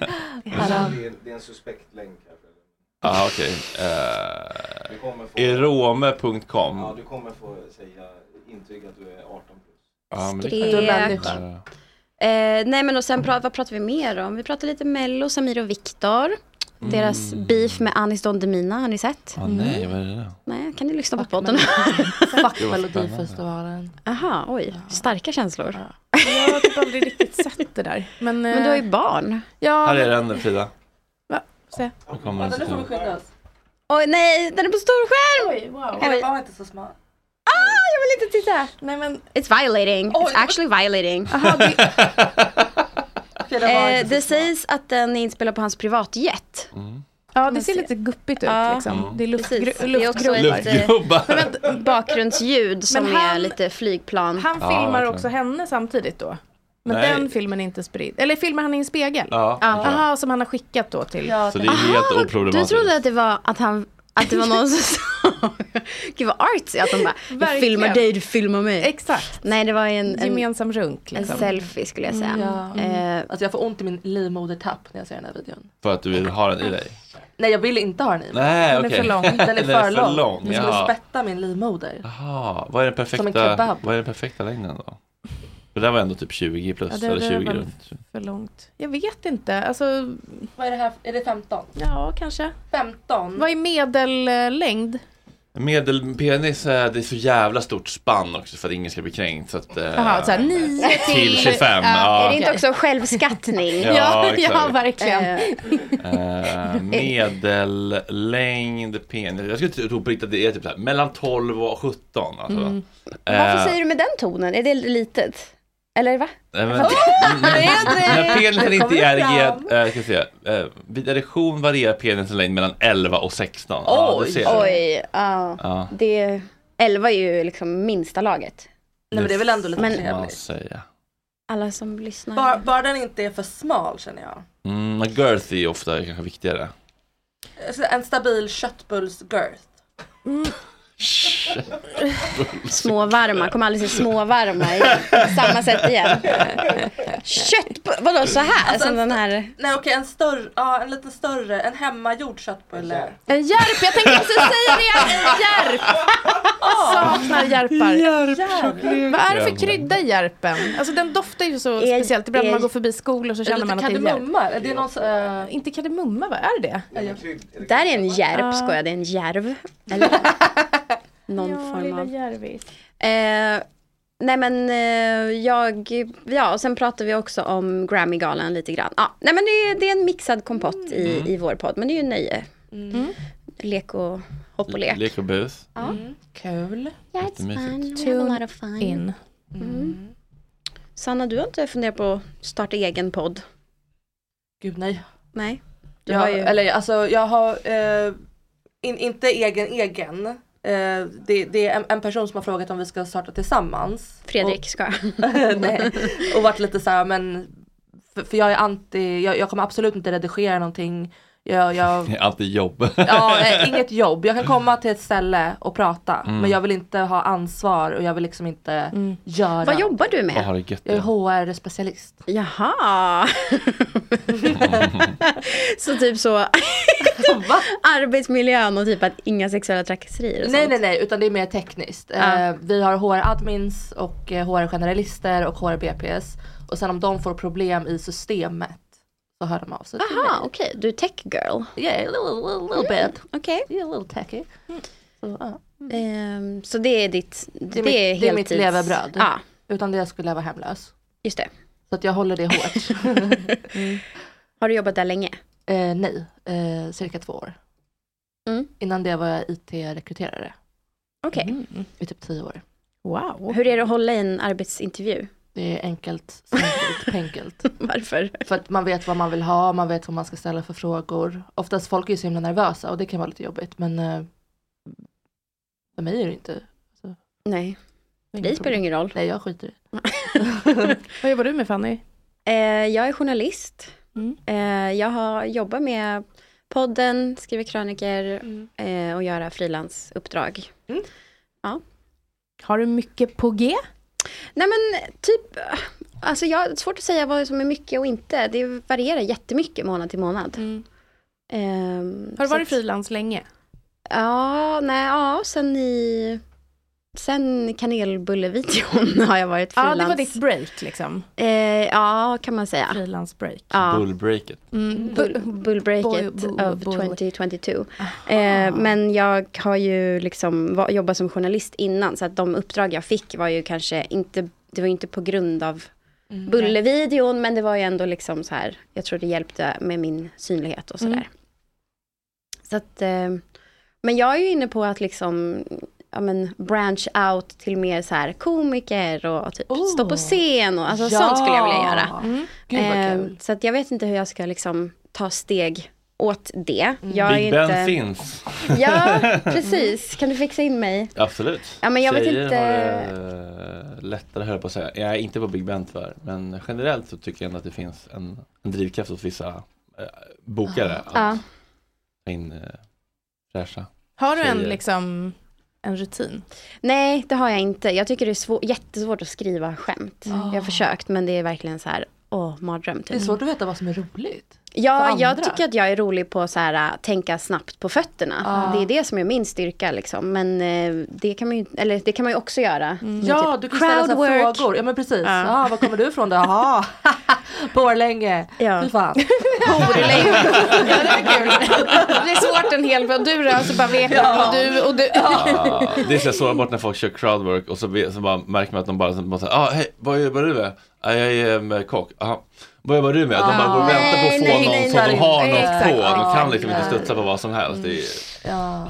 S9: Det är, det är en suspekt länk här. Fredrik.
S1: Ja, Ah, okej. Eh,
S9: Du kommer få, ja,
S1: Erome.com.
S9: du kommer få säga intyg att du är 18 plus.
S1: Ja, men det Ah,
S3: Skrek.
S1: kan jag
S6: Du är
S1: inte.
S6: människa.
S3: Eh, nej men och sen pra- vad pratar vi mer om? Vi pratar lite Mello, Samir och Viktor.
S1: Mm.
S3: Deras beef med Anis Don Demina, har ni sett?
S1: Ah, nej, vad är det där?
S3: Nej, kan ni lyssna på podden?
S6: Fuck
S1: Det var
S6: Melodifestivalen.
S3: Aha, oj. Starka känslor.
S8: Jag har typ aldrig riktigt sett det där. Men,
S3: Men du har
S8: eh,
S3: ju barn.
S8: ja,
S1: Här är den Frida.
S8: Va? Se.
S1: Nu kommer den.
S6: Vänta, nu får vi skynda oss.
S3: Oj nej, den är på stor skärm!
S6: Hela var inte så smal.
S3: Ah, jag vill inte titta!
S8: Nej, men,
S3: It's violating.
S6: Oj,
S3: It's actually violating.
S6: Okej, den var
S3: Eh,
S6: inte
S3: det
S6: så smal.
S3: sägs att den är inspelad på hans privatjet.
S8: ja, det ser lite guppigt ut.
S3: Ja.
S8: Liksom.
S1: Mm.
S8: Det är
S3: Precis.
S8: luftgru-
S3: Det är också
S8: luftgropar.
S3: ett eh,
S1: Luftgubbar.
S3: bakgrundsljud som
S8: han-
S3: är lite flygplan.
S8: Han
S1: Ja,
S8: filmar
S1: verkligen.
S8: också henne samtidigt då. Men
S1: Nej.
S8: den filmen är inte spridd. Eller filmar han i en spegel?
S1: Ja, det tror jag.
S8: Aha, som han har skickat då till...
S6: Ja,
S1: Så det är helt
S3: Du
S1: oproblematiskt.
S3: trodde att det var att han att det var någon som sa, gud vad artsy att de bara, jag
S8: Verkligen.
S3: filmar dig, du filmar mig.
S8: Exakt.
S3: Nej det var en, en,
S8: Gemensam runk.
S3: en
S8: Liksom.
S3: selfie skulle jag säga.
S6: Ja.
S3: Eh,
S6: Alltså jag får ont i min livmodertapp när jag ser den här videon.
S1: För att du vill ha den i dig?
S6: Nej, jag vill inte ha den i mig.
S1: Nej,
S8: Den är
S1: okej.
S8: för lång.
S6: Den är för lång. Det skulle
S1: Ja.
S6: spätta min livmoder.
S1: Jaha, vad är den
S6: Som en
S1: perfekta,
S6: kebab.
S1: vad är den perfekta längden då? Det där var ändå typ 20 plus,
S8: Ja, det- det
S1: eller
S8: där
S1: 20
S8: var-
S1: runt.
S8: För långt. Jag vet inte. Alltså,
S6: Vad är det här? Är det 15?
S8: ja, kanske.
S6: 15?
S8: Vad är medellängd?
S1: Medelpenis, eh, det är så jävla stort spann också för att ingen ska bli kränkt. Så att, eh,
S3: Jaha, så här, nio
S1: till 25. ja.
S3: Är det inte också självskattning?
S1: Ja, Eh. Ja, exakt. ja,
S3: verkligen.
S1: Eh, medellängd penis. Jag skulle tro på riktigt att det är typ så här, mellan 12 och 17. Alltså.
S3: Mm.
S1: Eh,
S3: Varför säger du med den tonen? Är det litet? Eller va?
S1: nej, men-
S3: Fredrik!
S1: När penisen
S3: Nu
S1: inte
S3: kommer
S1: är
S3: det fram.
S1: ge, eh, ska vi se, eh, vid erektion varierar penisens längd mellan 11 och 16. Ja, du
S3: Oj,
S1: ser.
S3: oj. Ja.
S1: Ja.
S3: Det, 11 är ju liksom minsta laget.
S10: Nej, men det är väl ändå lite
S3: Men-
S1: Får man säga.
S3: Alla som lyssnar.
S6: Bara, bara den inte är för smal känner jag.
S1: Mm, men girthy är ofta kanske viktigare.
S6: Alltså, En stabil köttbullsgirth.
S3: Mm. Små varma, kommer aldrig se små varma igen. Samma sätt igen. Kött, vadå så här?
S6: Alltså,
S3: som
S6: en
S3: den här.
S6: Nej okej, en större, ja en lite större, en hemmagjord köttbulle.
S8: En järp, jag tänkte precis säga det! En järp! Saknar järpar.
S10: Järpchoklad.
S8: Vad är det för krydda i järpen? Alltså den doftar ju så speciellt. Ibland när man går förbi skolor så känner
S10: lite
S8: man att det är järp.
S10: kardemumma? Är det någon så- eh,
S8: Inte kardemumma, vad är det?
S6: eh,
S3: Där är en järp,
S8: Ah.
S3: skojar det är en järv. Eller? Någon form av. Eh, nej men eh, jag, ja och sen pratar vi också om Grammygalan lite grann. Ja, nej men det är, det är en mixad kompott i, i vår podd, men det är ju nöje.
S8: Mm.
S3: Lek och hopp och lek.
S1: Lek och bus.
S3: Ja.
S8: Kul.
S3: Yeah,
S1: it's Jättemysigt. fun.
S8: Mm. Tune in.
S3: Mm. Sanna, du har inte funderat på att starta egen podd?
S10: Gud nej.
S3: Nej. Du
S6: Jag,
S3: har ju...
S6: Eller alltså jag har, eh, in, inte egen egen. Eh, det, det är en, en person som har frågat om vi ska starta tillsammans.
S3: Fredrik ska.
S6: nej, och varit lite så här, men för, för jag är anti, jag, jag kommer absolut inte redigera någonting. Jag, jag,
S1: Alltid jobb.
S6: ja, eh, inget jobb. Jag kan komma till ett ställe och prata
S1: Mm.
S6: men jag vill inte ha ansvar och jag vill liksom inte göra.
S3: Mm. Vad jobbar du med?
S1: Vad har det gött
S6: Jag är HR-specialist.
S3: Jaha! så typ så arbetsmiljön och typ att inga sexuella trakasserier och
S6: Nej
S3: sånt.
S6: nej nej utan det är mer tekniskt.
S3: Ja.
S6: Eh, vi har HR-admins och eh, HR-generalister och HR-BPS. Och sen om de får problem i systemet så hör de av sig till
S3: Jaha, okej. Du är tech girl. Mm,
S6: Yeah, a little, little, little bit.
S3: Okej. Mm.
S6: Yeah, a little techy. Så, ja.
S3: Ehm, så det är ditt, det,
S6: Det är, mitt,
S3: är
S6: det är mitt
S3: heltids-
S6: levebröd.
S3: Ja,
S6: Utan det skulle jag vara hemlös.
S3: just det.
S6: Så att jag håller det hårt. Mm.
S3: Har du jobbat där länge?
S6: eh, nej, eh, cirka två år.
S3: Mm.
S6: Innan det var jag IT-rekryterare
S3: Okej.
S6: i typ tio år.
S8: Mm. Wow.
S3: Hur är det att hålla i en arbetsintervju?
S6: Det är enkelt, enkelt, enkelt.
S3: Varför?
S6: För att man vet vad man vill ha, man vet vad man ska ställa för frågor. Oftast folk är ju så himla nervösa och det kan vara lite jobbigt men eh, för mig är det inte.
S3: Nej. För dig spelar det ingen roll.
S6: Nej jag skiter i det.
S8: Vad jobbar du med Fanny?
S3: Eh, jag är journalist.
S8: Mm.
S3: Eh, jag har jobbat med podden, skriver kröniker
S6: Mm.
S3: eh, och göra frilansuppdrag.
S8: Har du mycket på G?
S3: Nej men typ, eh, alltså jag har svårt att säga vad som är mycket och inte. Det varierar jättemycket månad till månad. Ehm,
S8: Har du
S3: så
S8: varit
S3: att-
S8: frilans länge?
S3: Ja, nej, ja, sen i... Sen kanelbullevideon har jag varit
S8: Ja,
S3: frilans.
S8: det var ditt break liksom.
S3: eh, ja, kan man säga.
S8: Frilansbreak.
S3: Ja.
S1: Bullbreaket.
S8: Mm.
S3: Bull, bullbreaket
S8: Bull- bull-
S3: of
S8: bull-
S3: 2022. Eh, men jag har ju liksom va- jobbat som journalist innan, så att de uppdrag jag fick var ju kanske inte, det var ju inte på grund av Mm. Bullevideon, men det var ju ändå liksom så här, jag tror det hjälpte med min synlighet och sådär.
S8: Mm.
S3: Så att, eh, men jag är ju inne på att liksom, ja men branch out till mer så här komiker och, typ stå på scen och alltså sånt skulle jag vilja göra.
S6: Mm. Gud vad
S3: Eh,
S6: kul.
S3: Så att jag vet inte hur jag ska liksom ta steg åt det.
S6: Mm.
S3: Jag är ju
S1: Big Ben
S3: inte...
S1: finns.
S3: Ja, precis. Kan du fixa in mig?
S1: Absolut.
S3: Ja, men jag vet
S1: Tjejer
S3: inte-
S1: har det lättare höll jag på att säga. Jag är inte på Big Ben tyvärr. Men generellt så tycker jag ändå att det finns en, en drivkraft hos vissa eh, bokare.
S3: Ja.
S1: Att ta in eh, fräscha.
S8: Har du en,
S1: Tjejer.
S8: liksom, en rutin?
S3: Nej, det har jag inte. Jag tycker det är svår, jättesvårt att skriva skämt. Jag har försökt, men det är verkligen så här, åh, mardröm.
S6: Det är
S3: Typ. Mm.
S6: svårt att veta vad som är roligt.
S3: Ja,
S6: för andra?
S3: jag tycker att jag är rolig på att så här, äh, tänka snabbt på fötterna.
S6: Ja.
S3: Det är det som är min styrka liksom. Men eh, det kan man ju, eller, det kan man ju också göra. med
S6: Mm. Ja,
S3: typ
S6: du kan ställa så
S3: crowdwork.
S6: här frågor. Ja men precis.
S3: Ja.
S6: Ah, var kommer du ifrån då? Jaha, Borlänge.
S3: Ja.
S6: Fy fan.
S8: Det är svårt en hel vad du rör så bara vet jag.
S6: Ja.
S8: Och du, och du.
S1: Ah, det är så jag sårar bort när folk kör crowdwork och så, vi- så bara märker man att de bara, så bara säger, ah, hej, vad jobbar du med? Ah, jag är um, kock. Aha. Vad jobbar du med? Att De bara går och väntar på att få
S6: Ah, Nej, nej,
S1: någon
S6: nej,
S1: som de
S6: nej,
S1: har
S6: nej,
S1: något
S6: exakt.
S1: på. De
S6: Ja,
S1: kan liksom inte
S6: nej. Mm.
S1: studsa på vad som helst. Det är,
S6: Ja.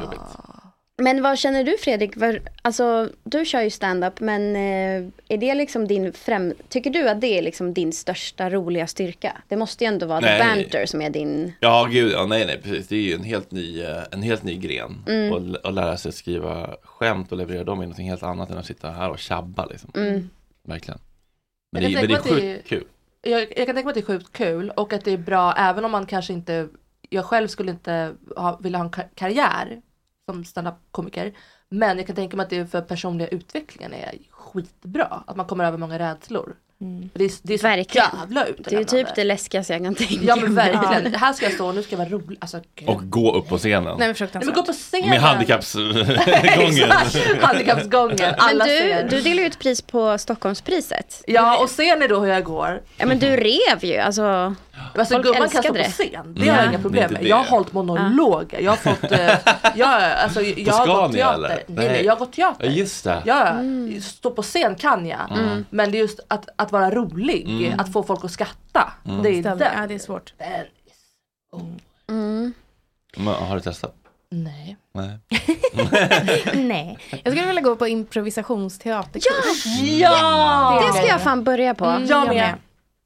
S3: Men vad känner du Fredrik? Var, alltså, du kör ju stand-up men eh, är det liksom din främ... Tycker du att det är liksom din största roliga styrka? Det måste ju ändå vara
S1: Nej.
S3: the banter som är din...
S1: ja, gud, ja, nej, nej, precis. Det är ju en helt ny, eh, en helt ny gren.
S3: Mm.
S1: Och, l- och lära sig att skriva skämt och leverera dem är något helt annat än att sitta här och tjabba liksom.
S6: Mm.
S1: Verkligen.
S6: Men
S1: Men,
S6: jag
S1: det, är- men det
S6: tänker
S1: är
S6: att det är-
S1: sjukt kul.
S6: Jag, jag kan tänka mig att det är sjukt kul och att det är bra även om man kanske inte, jag själv skulle inte ha, vilja ha en kar- karriär som standup-komiker. Men jag kan tänka mig att det för personliga utvecklingen är skitbra. Att man kommer över många rädslor.
S3: Mm.
S6: För Det är, det är så
S3: Verkligen.
S6: jävla
S3: Det är ju
S6: utlämnande.
S3: typ det läskigaste jag kan tänka
S6: Ja men
S3: mig.
S6: verkligen. Här ska jag stå och nu ska jag vara rolig. Alltså, gud.
S1: Och gå upp på scenen.
S6: Nej, men fruktansvärt. gå på scenen.
S1: Med handikappsgången.
S6: Exakt. Handikappsgången. Alla
S3: men du,
S6: ser.
S3: du delar ju ut pris på Stockholmspriset.
S6: Ja och ser ni då hur jag går?
S3: Ja men
S1: Mm.
S3: du rev ju, alltså.
S6: Alltså
S3: folk
S6: gumman kan stå
S3: älskade
S6: på
S3: det.
S6: scen, det
S1: Mm,
S6: har jag
S1: det
S6: inga
S1: är
S6: problem
S1: inte
S6: med.
S1: det.
S6: Jag har hållit monologer, jag har fått, eh, jag, alltså, jag har gått
S1: Scania,
S6: teater.
S1: eller?
S6: Nej,
S1: Nej.
S6: nej, jag har gått teater.
S1: Ja, just det.
S6: Ja, stå på scen kan jag.
S1: Mm.
S6: Men det är just att, att vara rolig,
S1: Mm.
S6: att få folk att skratta.
S1: Mm.
S6: Det är
S8: Stämmer.
S6: det.
S8: Ja, det är svårt.
S1: Men, har du testat?
S6: Nej.
S1: Nej.
S8: Nej, jag skulle vilja gå på improvisationsteaterkurs.
S6: Ja!
S3: Det ska jag fan börja på.
S8: Mm, jag med.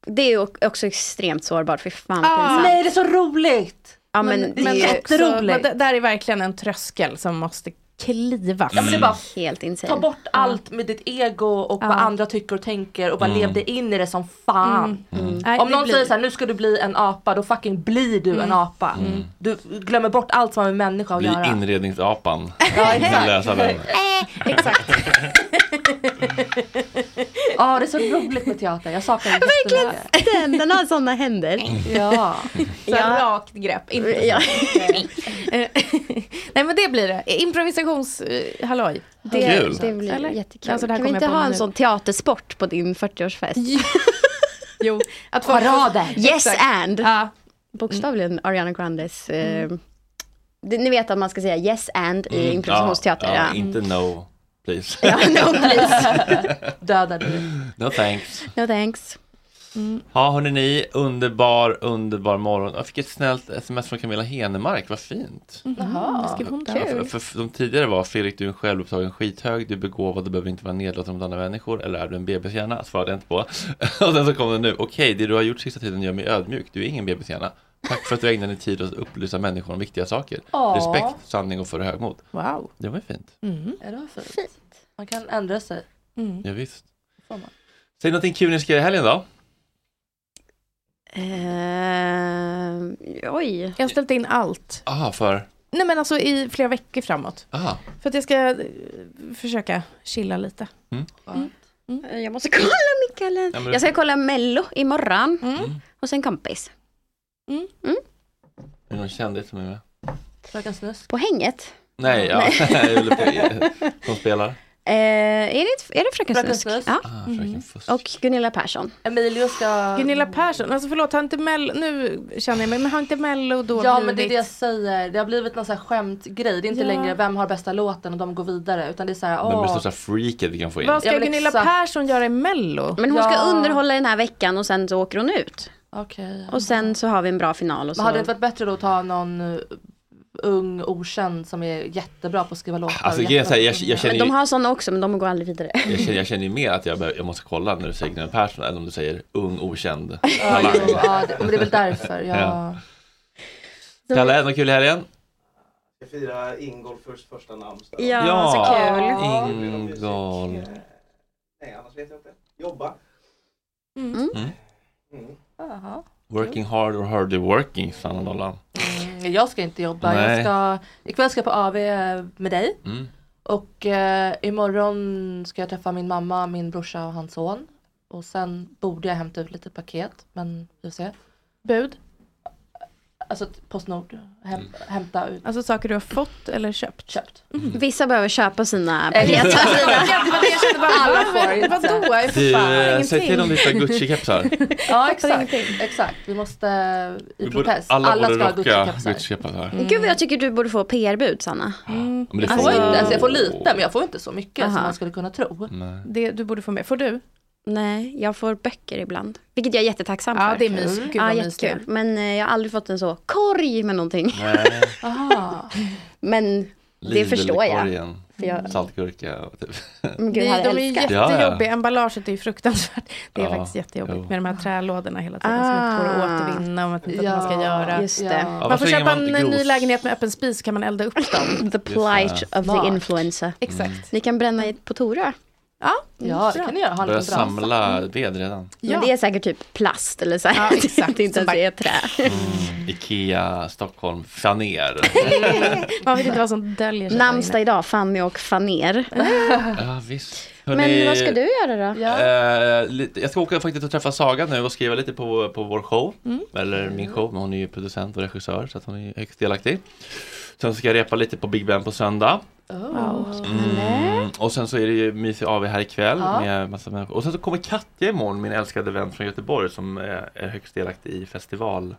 S3: Det är ju också extremt sårbart, för fan vad
S8: Ah,
S3: pinsamt.
S8: nej,
S6: det är så roligt!
S3: Ja men,
S8: men,
S3: det är ju
S8: också-
S3: jätteroligt.
S8: men det- där är verkligen en tröskel som måste klivas.
S6: Ja, men det är
S1: Mm.
S6: bara
S3: Helt insane.
S6: Ta bort allt med ditt ego och vad andra tycker och tänker och bara
S8: Mm.
S6: lev dig in i det som fan.
S8: Mm. Mm. Nej,
S6: Om
S8: det
S6: någon
S8: blir-
S6: säger såhär, nu ska du bli en apa, då fucking blir du en apa.
S1: Mm.
S6: Du glömmer bort allt som har med människa att
S1: Bli
S6: göra.
S1: inredningsapan.
S6: Ja, exakt.
S1: Läsa den.
S6: Exakt. Ja det är så roligt med teater, jag saknar det
S3: Verkligen
S6: jättemycket.
S3: den, den har sådana händer.
S6: Ja.
S8: Så här
S3: Ja.
S8: rakt grepp. Inte så.
S3: Ja.
S8: Eh, Nej men det blir det. eh, Improvisationshalloj.
S3: Det, Alltså, det blir jättekul. kan vi inte ha en sån teatersport på din 40-årsfest?
S8: Jo, att
S3: Charader. Yes
S8: Exakt.
S3: and. Bokstavligen Ariana Grandes. eh,
S6: Mm.
S3: det- ni vet att man ska säga yes and i
S1: Mm.
S3: improvisationsteater.
S1: Ja,
S3: Ja,
S1: ja, inte no, please.
S3: Ja, no please.
S6: Döda dig.
S1: No thanks.
S3: No thanks.
S1: Ja, hörni, ni, underbar, underbar morgon. Jag fick ett snällt sms från Camilla Henemark, vad fint.
S8: Jaha, vad skrev hon då?
S1: Ja, för, för, för, de tidigare var Fredrik, du är en självupptagen skithög, du är begåvad och behöver inte vara nedlåtande mot andra människor, eller är du en bebishjärna? Svarade jag inte på. och sen så kom den nu, okej, det du har gjort sista tiden gör mig ödmjuk, du är ingen bebishjärna. Tack för att du ägnar din tid åt att upplysa människor om viktiga saker.
S6: Åh.
S1: Respekt, sanning och för högmod.
S8: Wow. Mm.
S1: Det var ju fint.
S6: Ja, det var fint. Man kan ändra sig.
S1: Ja, visst.
S6: Får man.
S1: Säg någonting kul ni ska göra i helgen då.
S3: Eh, oj.
S8: Jag har ställt in allt.
S1: Aha, för...
S8: Nej men alltså i flera veckor framåt.
S1: Aha.
S8: För att jag ska eh, försöka chilla lite.
S6: Eh,
S3: Jag måste kolla min
S1: Ja,
S3: kalender.
S1: men-
S3: Jag ska kolla Mello imorgon.
S6: Mm.
S1: Mm.
S3: Och sen kompis.
S1: Är det någon kändis som är med?
S6: Fröken Snusk.
S3: På hänget.
S1: Nej, ja. jag håller på, som spelar.
S3: Eh, är, det, är det Fröken
S6: Fröken
S3: Snusk?
S6: Snusk. Eh,
S3: Ja.
S1: Ah, fröken Fusk.
S3: Och Gunilla Persson.
S6: Emilio ska...
S8: Gunilla Persson, alltså förlåt, har inte Mello, nu känner jag mig, men har inte Mello då
S6: Ja
S8: blivit...
S6: men det är det jag säger, det har blivit någon sån här skämtgrej. Det är inte
S8: Ja.
S6: längre vem har bästa låten och de går vidare utan det är såhär,
S1: Vem är det
S6: åh.
S1: största freaket vi kan få in?
S8: Vad ska
S6: Ja, men
S8: Gunilla
S6: exakt.
S8: Persson göra i Mello?
S3: Men hon ska
S6: Ja.
S3: underhålla den här veckan och sen så åker hon ut.
S6: Okej.
S3: Och sen så har vi en bra final. Och så.
S6: Men hade det inte varit bättre då att ta någon eh, ung okänd som är jättebra på att skriva låtar?
S1: Alltså,
S6: och
S1: grejen är så här,
S6: jättebra på-
S1: jag- jag känner
S3: Men
S1: ju-
S3: de har sådana också men de går aldrig vidare.
S1: Jag känner, jag känner ju mer att jag, behöver, jag måste kolla när du säger Gunilla Persson än om du säger ung okänd talang.
S6: Jo, ja, det- men det är väl därför. Ja.
S1: Ja. Kalle, något kul i helgen?
S9: Jag firar Ingolfurs första namnsdag.
S3: Ja, så kul.
S1: Ingolf.
S9: Nej, annars vet jag inte. Jobba.
S3: Mm.
S1: Mm.
S9: Mm.
S6: Jaha.
S1: Working hard or hardly working, Sanna Dollan.
S6: Mm, Jag ska inte jobba. Jag
S1: Nej.
S6: ska, ikväll ska jag på AV med dig.
S1: Mm.
S6: Och eh, imorgon ska jag träffa min mamma, min brorsa och hans son. Och sen borde jag hämta ut lite paket men vi får se.
S8: Bud?
S6: alltså Postnord häm, hämta ut.
S8: Alltså saker du har fått eller köpt?
S6: Köpt.
S3: Vissa behöver köpa sina
S6: Eh,
S3: paket.
S6: ja.
S8: Alla
S6: Alla
S8: får
S6: får
S8: inte.
S6: inte.
S8: Vadå? Jag är för
S1: Du,
S8: fan
S1: eh,
S8: ingenting.
S1: säg till om du hittar Gucci-kepsar.
S6: Ja
S8: Fattar
S6: exakt.
S8: ingenting.
S6: Exakt. Vi måste eh, i
S1: Vi borde-
S6: protest.
S1: Alla,
S6: Alla
S1: borde
S6: ska ha
S1: rocka
S6: Gucci-kepsar.
S1: Gucci-kepsar.
S3: Gud vad jag tycker du borde få PR-bud Sanna.
S8: Mm.
S1: Men det
S6: Jag får,
S3: Alltså-
S6: inte, alltså jag får lite men jag får inte så mycket
S3: Aha.
S6: som man skulle kunna tro.
S1: Nej.
S8: Det, du borde få med. Får du?
S3: Nej, jag får böcker ibland. Vilket jag är jättetacksam
S8: Ja,
S3: för.
S8: det är mys. Gud
S3: Ja,
S8: vad mys det är.
S3: jättekul. Men eh, jag har aldrig fått en så korg med någonting.
S1: Nej.
S6: Aha.
S3: Men det förstår jag.
S1: Lidl-korgen,
S3: För jag
S1: Saltgurka och typ.
S3: men gud,
S8: Mm. Nej,
S3: jag hade
S8: de är ju
S3: älskat.
S1: Ja, ja.
S8: jättejobbiga. Emballaget är ju fruktansvärt. Det är
S1: Ja,
S8: faktiskt jättejobbigt
S1: jo.
S8: med de här trälådorna hela tiden som inte går att
S3: Ah.
S8: återvinna och man vet inte vad man ska göra.
S3: Just det.
S6: Ja.
S1: varför
S8: Man får
S1: ringer
S8: köpa en
S1: man inte
S8: ny
S1: Gros?
S8: lägenhet med öppen spis så kan man elda upp dem.
S3: The plight of
S6: Smart.
S3: the influencer.
S8: Exakt.
S3: Ni kan bränna i- på Torö.
S8: Ja, mm,
S6: Ja, det kan ni göra. Ha en
S1: Börjar
S6: liten brasa.
S1: samla ved redan.
S8: Ja.
S3: Men det är säkert typ plast eller så här.
S8: Ja, exakt.
S3: det är inte
S8: Som
S3: ens är trä.
S1: Ikea, Stockholm, faner.
S8: man vet inte vad som döljer sig. där
S3: Namnsdag idag, Fanny och Faner.
S1: ja, visst.
S3: Men
S1: Hörrni,
S3: vad ska du göra då?
S1: eh, lite- jag ska åka faktiskt och träffa Saga nu och skriva lite på, på vår show.
S3: Mm.
S1: Eller min show, men hon är ju producent och regissör så att hon är högst delaktig. Sen ska jag repa lite på Big Ben på söndag. Mm. Och sen så är det ju mysig AW här ikväll med massa människor. Och sen så kommer Katja imorgon, min älskade vän från Göteborg som är är högst delaktig i festival.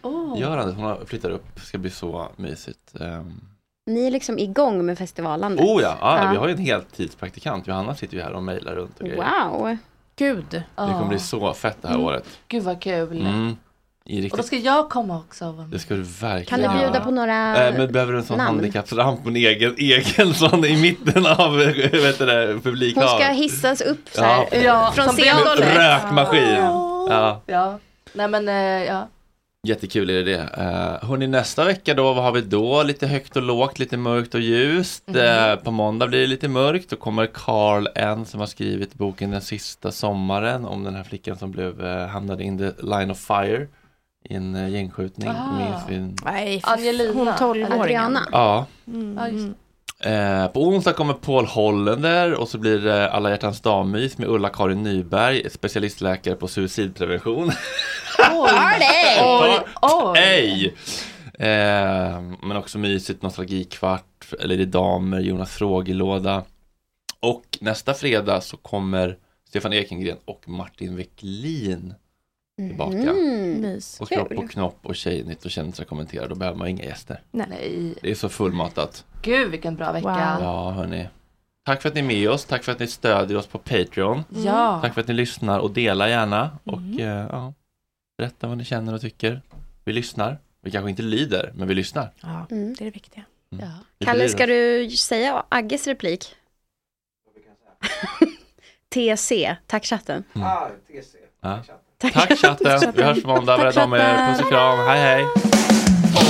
S3: Mm.
S1: Görandet, hon har- flyttar upp, ska bli så mysigt. Ehm,
S3: Ni är liksom igång med festivalandet.
S1: Oh ja, ja,
S3: Mm. Ja.
S1: vi har ju en heltidspraktikant. Johanna sitter ju här och mejlar runt och grejer.
S3: Wow.
S8: Gud.
S1: Det kommer bli så fett det här året.
S6: Gud vad kul.
S1: Mm. I
S6: Och då
S1: riktigt.
S6: ska jag komma också. och vara med.
S1: Det ska du
S3: Kan
S1: verkligen
S3: du
S6: Ja.
S3: bjuda på några...
S1: Eh, men behöver du en sån
S3: namn?
S1: handikappsramp och en egen, egen sån i mitten av vet du det,
S3: Hon
S1: publikhavet?
S3: ska hissas upp så här,
S1: Ja.
S3: ut
S6: Ja,
S3: från
S6: som
S3: scengolvet.
S6: Beyoncé.
S1: Rökmaskin! Ja,
S6: Ja. Nej men eh, ja.
S1: jättekul är det. Uh, hörni, nästa vecka då, vad har vi då? Lite högt och lågt, lite mörkt och ljust. Eh, på måndag blir det lite mörkt. Då kommer Carl N som har skrivit boken Den sista sommaren om den här flickan som blev, eh, hamnade in the line of fire i en eh, gängskjutning.
S6: Ah.
S1: Minns vi en-
S8: Nej,
S6: Angelina.
S8: hon Mm, tolvåringen.
S3: Adriana.
S1: Ja.
S6: Ja, just det.
S1: Eh, på onsdag kommer Paul Hollender och så blir det Alla hjärtans dammys med Ulla-Karin Nyberg, specialistläkare på suicidprevention.
S3: Har det!
S6: Oj, oj.
S1: Ej! Eh, men också mysigt, nostalgikvart, eller det är damer, Jonas frågelåda. Och nästa fredag så kommer Stefan Ekengren och Martin Wecklin tillbaka.
S3: Mm.
S8: Mys.
S1: Och Kropp
S3: kul.
S1: och knopp och Tjejnytt och kändisar kommenterar, då behöver man inga gäster.
S6: Nej.
S1: Det är så fullmatat.
S6: Gud vilken bra vecka.
S8: Wow.
S1: Ja, hörni. Tack för att ni är med oss, tack för att ni stödjer oss på Patreon.
S6: Ja. Mm.
S1: Tack för att ni lyssnar och dela gärna. Och eh, ja, berätta vad ni känner och tycker. Vi lyssnar. Vi kanske inte lyder, men vi lyssnar.
S8: Ja,
S3: Mm.
S8: det är det viktiga.
S6: Ja.
S1: Vi
S3: Kalle,
S1: bryr
S3: ska
S1: oss.
S3: du säga Agges replik? TC, tack chatten.
S9: Ah, TC.
S1: Ja.
S9: Chatten.
S1: Tack chatten. Vi hörs på måndag.
S3: Tack,
S1: Rädda om er.
S3: chatten.
S1: Puss och kram. Hej hej.